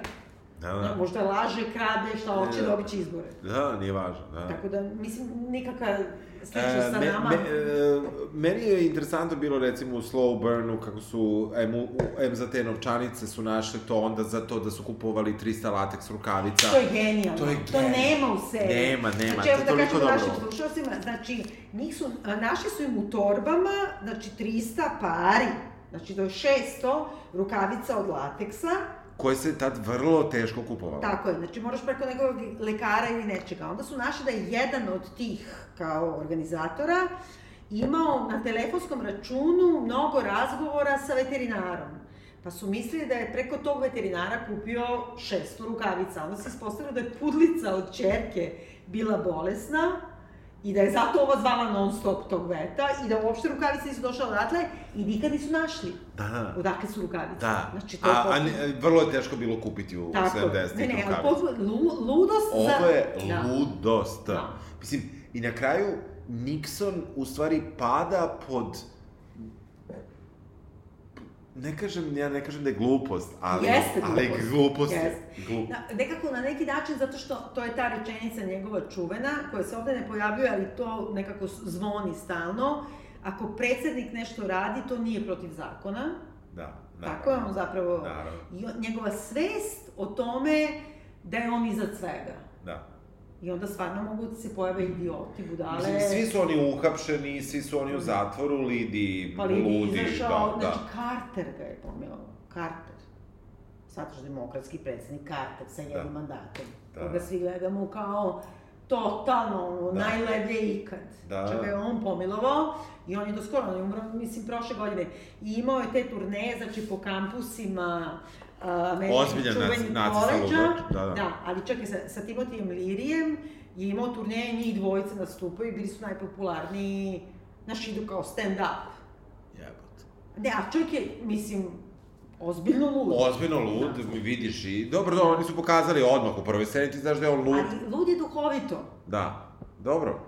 Da, da. Možda laže, krade, šta hoće, Da. dobit će izbore. Da, nije važno, da. Tako da, mislim, nikakva E, sličnost sa me, nama. me, e, meni je interesantno bilo recimo u Slow Burnu kako su em, u, em za te novčanice su našli to onda za to da su kupovali 300 lateks rukavica. To je genijalno. da. To To, je je genijalno. to nema u seriji. Nema, nema, to Znači, je evo da toliko kažemo dobro. našim slušalcima, znači, njih su, a, našli su im u torbama, znači, 300 pari, znači, to je 600 rukavica od lateksa, Koje se tad vrlo teško kupovalo. tako je, znači, moraš preko nekog lekara ili nečega. Onda su našli da je jedan od tih, kao organizatora, imao na telefonskom računu mnogo razgovora sa veterinarom. Pa su mislili da je preko tog veterinara kupio 600 rukavica. Onda se ispostavilo da je pudlica od čerke bila bolesna i da je zato ova zvala non stop tog veta i da uopšte rukavice nisu došle odatle i nikad nisu našli Da, da. odakle su rukavice. Da, Znači, to je a, a potpuno- ne, vrlo je teško bilo kupiti u Tako, 70-ih rukavica. ne, ne, ali potpuno, lu- ludost Ovo za... je Da. ludost. Da. Mislim, i na kraju Nixon u stvari pada pod ne kažem, ja ne kažem da je glupost, ali, Jeste ali glupost. glupost je. Jeste. Da. Glup. Na, nekako na neki način, zato što to je ta rečenica njegova čuvena, koja se ovde ne pojavljuje, ali to nekako s- zvoni stalno. Ako predsednik nešto radi, to nije protiv zakona. Da, naravno. Tako je on zapravo... Naravno, I on, njegova svest o tome da je on iza svega. da. I onda stvarno mogu da se pojave idioti, budale... Mislim, svi su oni uhapšeni, svi su oni u zatvoru, Lidi, Pa Lidi ludi, izašao, da, znači da. Carter ga je pomenuo, Carter. Svataš demokratski predsednik Carter sa jednim Da. mandatom, Da. koga svi gledamo kao totalno ono, Da. da. najledlje ikad, Da. čega je on pomilovao i on je do skoro, on je umro, mislim, prošle godine. I imao je te turneje, znači, po kampusima a, američkih Ozbiljan čuvenih nac- nacista koleđa. ludak, da, da. da, ali čekaj, sa, sa Timotijem Lirijem je imao turneje, njih dvojica nastupaju i bili su najpopularniji, znaš, idu kao stand-up. Jebote. Ne, a čovjek je, mislim, ozbiljno lud. Ozbiljno lud, Da. mi vidiš i... Dobro, dobro, oni su pokazali odmah u prvoj sceni, ti znaš da je on lud. Ali lud je duhovito. Da, dobro.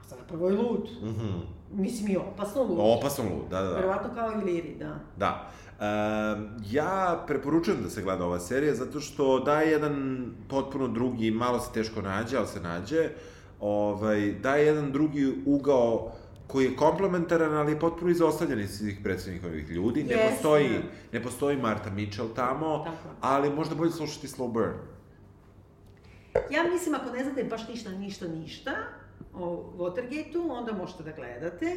A zapravo je lud. Mhm. Mislim i opasno lud. Opasan lud, da, da, da. Verovatno kao i Liri, da. Da. Um, ja preporučujem da se gleda ova serija zato što daje jedan potpuno drugi, malo se teško nađe, ali se nađe, ovaj, daje jedan drugi ugao koji je komplementaran, ali je potpuno izostavljen iz svih predsednikovih ljudi. Ne Jeste. postoji, ne postoji Marta Mitchell tamo, Tako. ali možda bolje slušati Slow Burn. Ja mislim, ako ne znate baš ništa, ništa, ništa o Watergate-u, onda možete da gledate.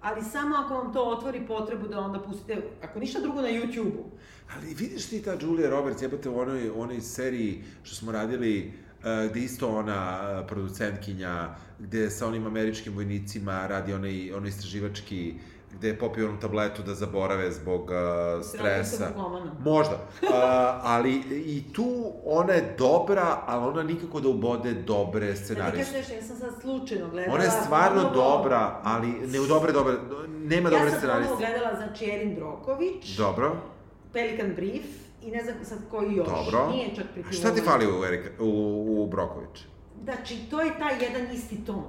Ali samo ako vam to otvori potrebu da onda pustite, ako ništa drugo na YouTube-u. Znači, Ali vidiš ti ta Julia Roberts, jebate u onoj, onoj seriji što smo radili, uh, gde isto ona uh, producentkinja, gde sa onim američkim vojnicima radi onaj, onaj istraživački, gde je popio onu tabletu da zaborave zbog uh, stresa. Sramo Narkomana. Možda. Uh, ali i tu ona je dobra, ali ona nikako da ubode dobre Da ti scenarije. kažem nešto, ja sam sad slučajno gledala. Ona je stvarno ponovo- dobra, ali ne u dobre, dobre, nema dobre Da, Ja sam scenariste. ponovo gledala, znači, Erin Broković. Dobro. Pelikan Brief i ne znam sad koji još. Dobro. Nije čak ovaj- A pripremljeno. Šta ti fali u, Erika, u, u Broković? Znači, to je taj jedan isti ton.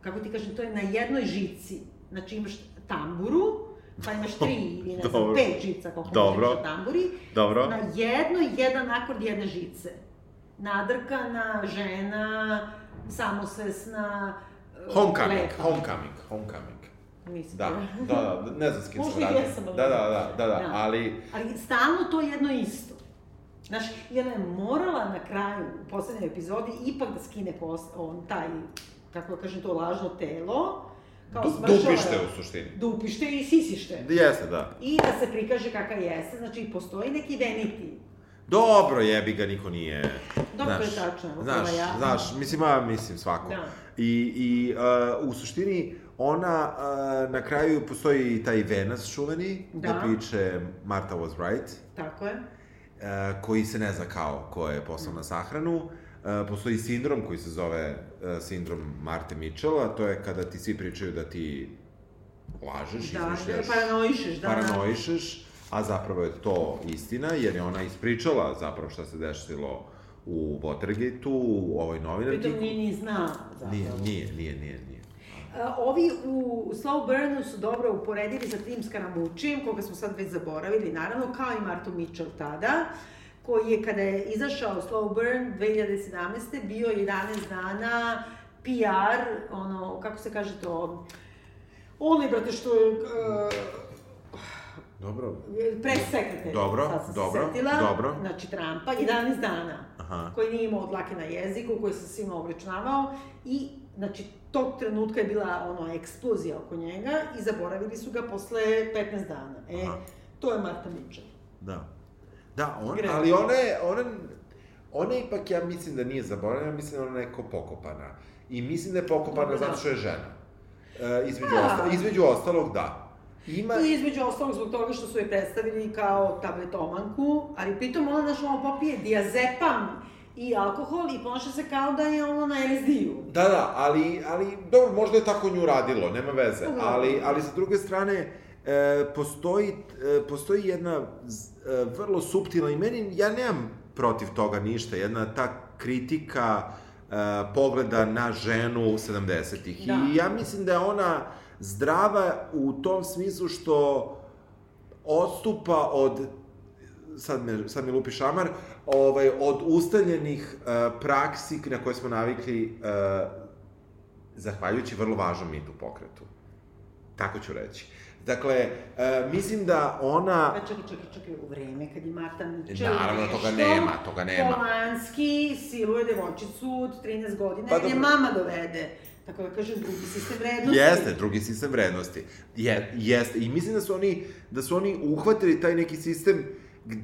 Kako ti kažem, to je na jednoj žici. Znači, imaš tamburu, pa imaš tri ili ne znam, Dobro. pet žica koliko Dobro. možeš na tamburi. Dobro. Na jednoj, jedan akord jedne žice. Nadrkana, žena, samosvesna, e, Homecoming, lepa. homecoming, homecoming. Mislim, Da, da, da, ne znam s kim sam Možda i radio. jesam, Da, ali- da, da, da, da, Da. ali... Ali stalno to jedno isto. Znaš, i ona je morala na kraju, u poslednjoj epizodi, ipak da skine kos, on, taj, kako da kažem to, lažno telo. du- smršava- Dupište u suštini. Dupište i sisište. Jeste, da. I da se prikaže kakav jeste, znači postoji neki veniti. Dobro, jebi ga, niko nije... Dobro, to je tačno, evo, Znaš, prva ja. znaš, mislim, a mislim svako. Da. I, i uh, u suštini, ona, uh, na kraju postoji i taj Venas čuveni, da. Da. gde piše Martha was right. Tako je. e, koji se ne zna kao ko je poslao na sahranu. E, postoji sindrom koji se zove e, sindrom Marte Mitchella, to je kada ti svi pričaju da ti lažeš, Da, izmišljaš, paranoišeš, da. paranoišeš, a zapravo je to istina, jer je ona ispričala zapravo šta se desilo u Watergate-u, u ovoj novinarki. Pritom nije ni znao zapravo. Nije, nije, nije, nije, A, nije. E, Ovi u Slow Burnu su dobro uporedili sa tim Skaramučijem, koga smo sad već zaboravili, naravno, kao i Martu Mitchell tada, koji je kada je izašao Slow Burn 2017. bio 11 dana PR, ono, kako se kaže to, onaj, brate, što je e, Dobro. uh, pres sekretar. Dobro, sad sam se dobro, setila, dobro. Znači, Trumpa, 11 dana, Aha. koji nije imao dlake na jeziku, koji se svima obračunavao i, znači, tog trenutka je bila ono eksplozija oko njega i zaboravili su ga posle 15 dana. E, Aha. to je Marta Mitchell. Da. Da, on, Greška. ali ona je, ona, ona je ipak, ja mislim da nije zaboravljena, mislim da je ona neko pokopana. I mislim da je pokopana Dobro, da. zato što je žena. E, između, Da. osta, između ostalog, da. Ima, I između ostalog zbog toga što su je predstavili kao tabletomanku, ali pritom ona znaš ono popije diazepam i alkohol i ponaša se kao da je ono na LSD-u. Da, da, ali, ali dobro, možda je tako nju radilo, nema veze. Dobro. Ali, ali sa druge strane, e, postoji, e, postoji jedna z- e, vrlo suptilna i meni, ja nemam protiv toga ništa, jedna ta kritika e, pogleda na ženu 70-ih. Da. Da. I ja mislim da je ona zdrava u tom smislu što odstupa od sad me, sad me lupi šamar, ovaj, od ustaljenih uh, praksi na koje smo navikli uh, zahvaljujući vrlo važnom mitu pokretu. Tako ću reći. Dakle, uh, mislim da ona... Pa čekaj, čekaj, čekaj, u vreme kad je Marta Mičel Naravno, toga nema, toga nema. Polanski siluje devojčicu od 13 godina, Pa pa, jer je dobro. mama dovede. Tako da kažem, drugi sistem vrednosti. Jeste, drugi sistem vrednosti. Je, jeste. I mislim da su oni, da su oni uhvatili taj neki sistem, g-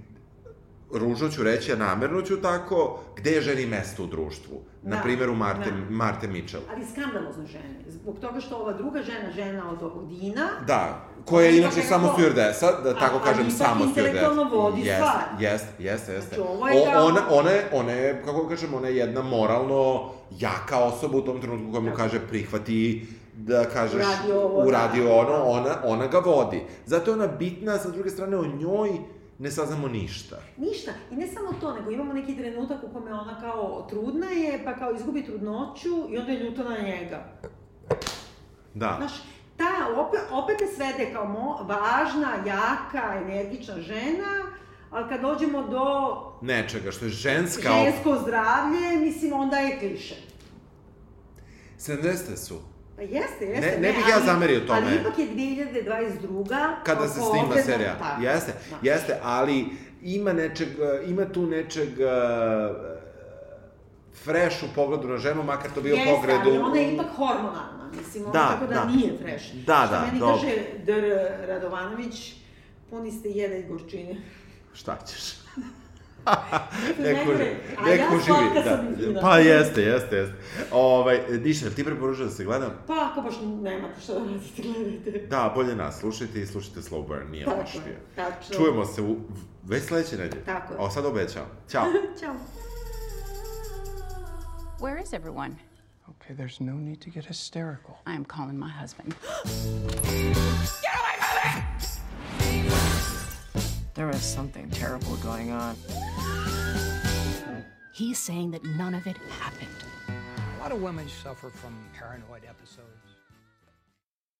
ružno ću reći, a namerno ću tako, gde je ženi mesto u društvu. Da, Da, na primjer u Marte, da. da. Marte Mitchell. Ali skandalozno žene. Zbog toga što ova druga žena, žena od ovog Dina, Da, koja je Ali inače ipak samo nekako- stewardesa, da A- tako ali kažem, ipak samo stewardesa. intelektualno vodi stvar. Jeste, jeste, jeste. Znači, ovo je O, kao- ona, ona, je, ona je, kako da kažem, ona je jedna moralno jaka osoba u tom trenutku koja mu kaže prihvati da kažeš Uradi ovo, uradi da. ono, ona, ona ga vodi. Zato je ona bitna, sa druge strane o njoj ne saznamo ništa. Ništa. I ne samo to, nego imamo neki trenutak u kome ona kao trudna je, pa kao izgubi trudnoću i onda je ljuta na njega. Da. Znaš, ta opet, opet te svede kao mo, važna, jaka, energična žena, ali kad dođemo do Nečega što je ženska... kao... žensko zdravlje, mislim, onda je kliše. 70. su. Pa jeste, jeste. Ne- ne bih ja ali- zamerio tome. Ali ipak je 2022. kada se oko snima obveznog- serija. tako. Jeste, Da. jeste, ali ima nečeg, eh, ima tu nečeg eh, fresh u pogledu na ženu, makar to bio Jeste, pogled ali u... ona je ipak hormonalna, mislim, ona Da, tako da, da. nije fresh. Da, da, Što meni dobro. kaže Dr. Radovanović, puni ste jede i gorčine. Šta ćeš? Neko- Dakle, a ja neko slatka živi, sam izgleda. da. Pa jeste, jeste, jeste. Ovaj, Dišan, ti preporučujem da se gledam? Pa ako baš nemate šta da radite, gledajte. Da, bolje nas slušajte i slušajte Slow Burn, nije Tako loš je, bio. tačno. Čujemo se u, već sledeće nedelje. Tako je. A sad obećavam. Ćao. Ćao. Where is everyone? Okay, there's no need to get hysterical. I am calling my husband. There is something terrible going on. He's saying that none of it happened. A lot of women suffer from paranoid episodes.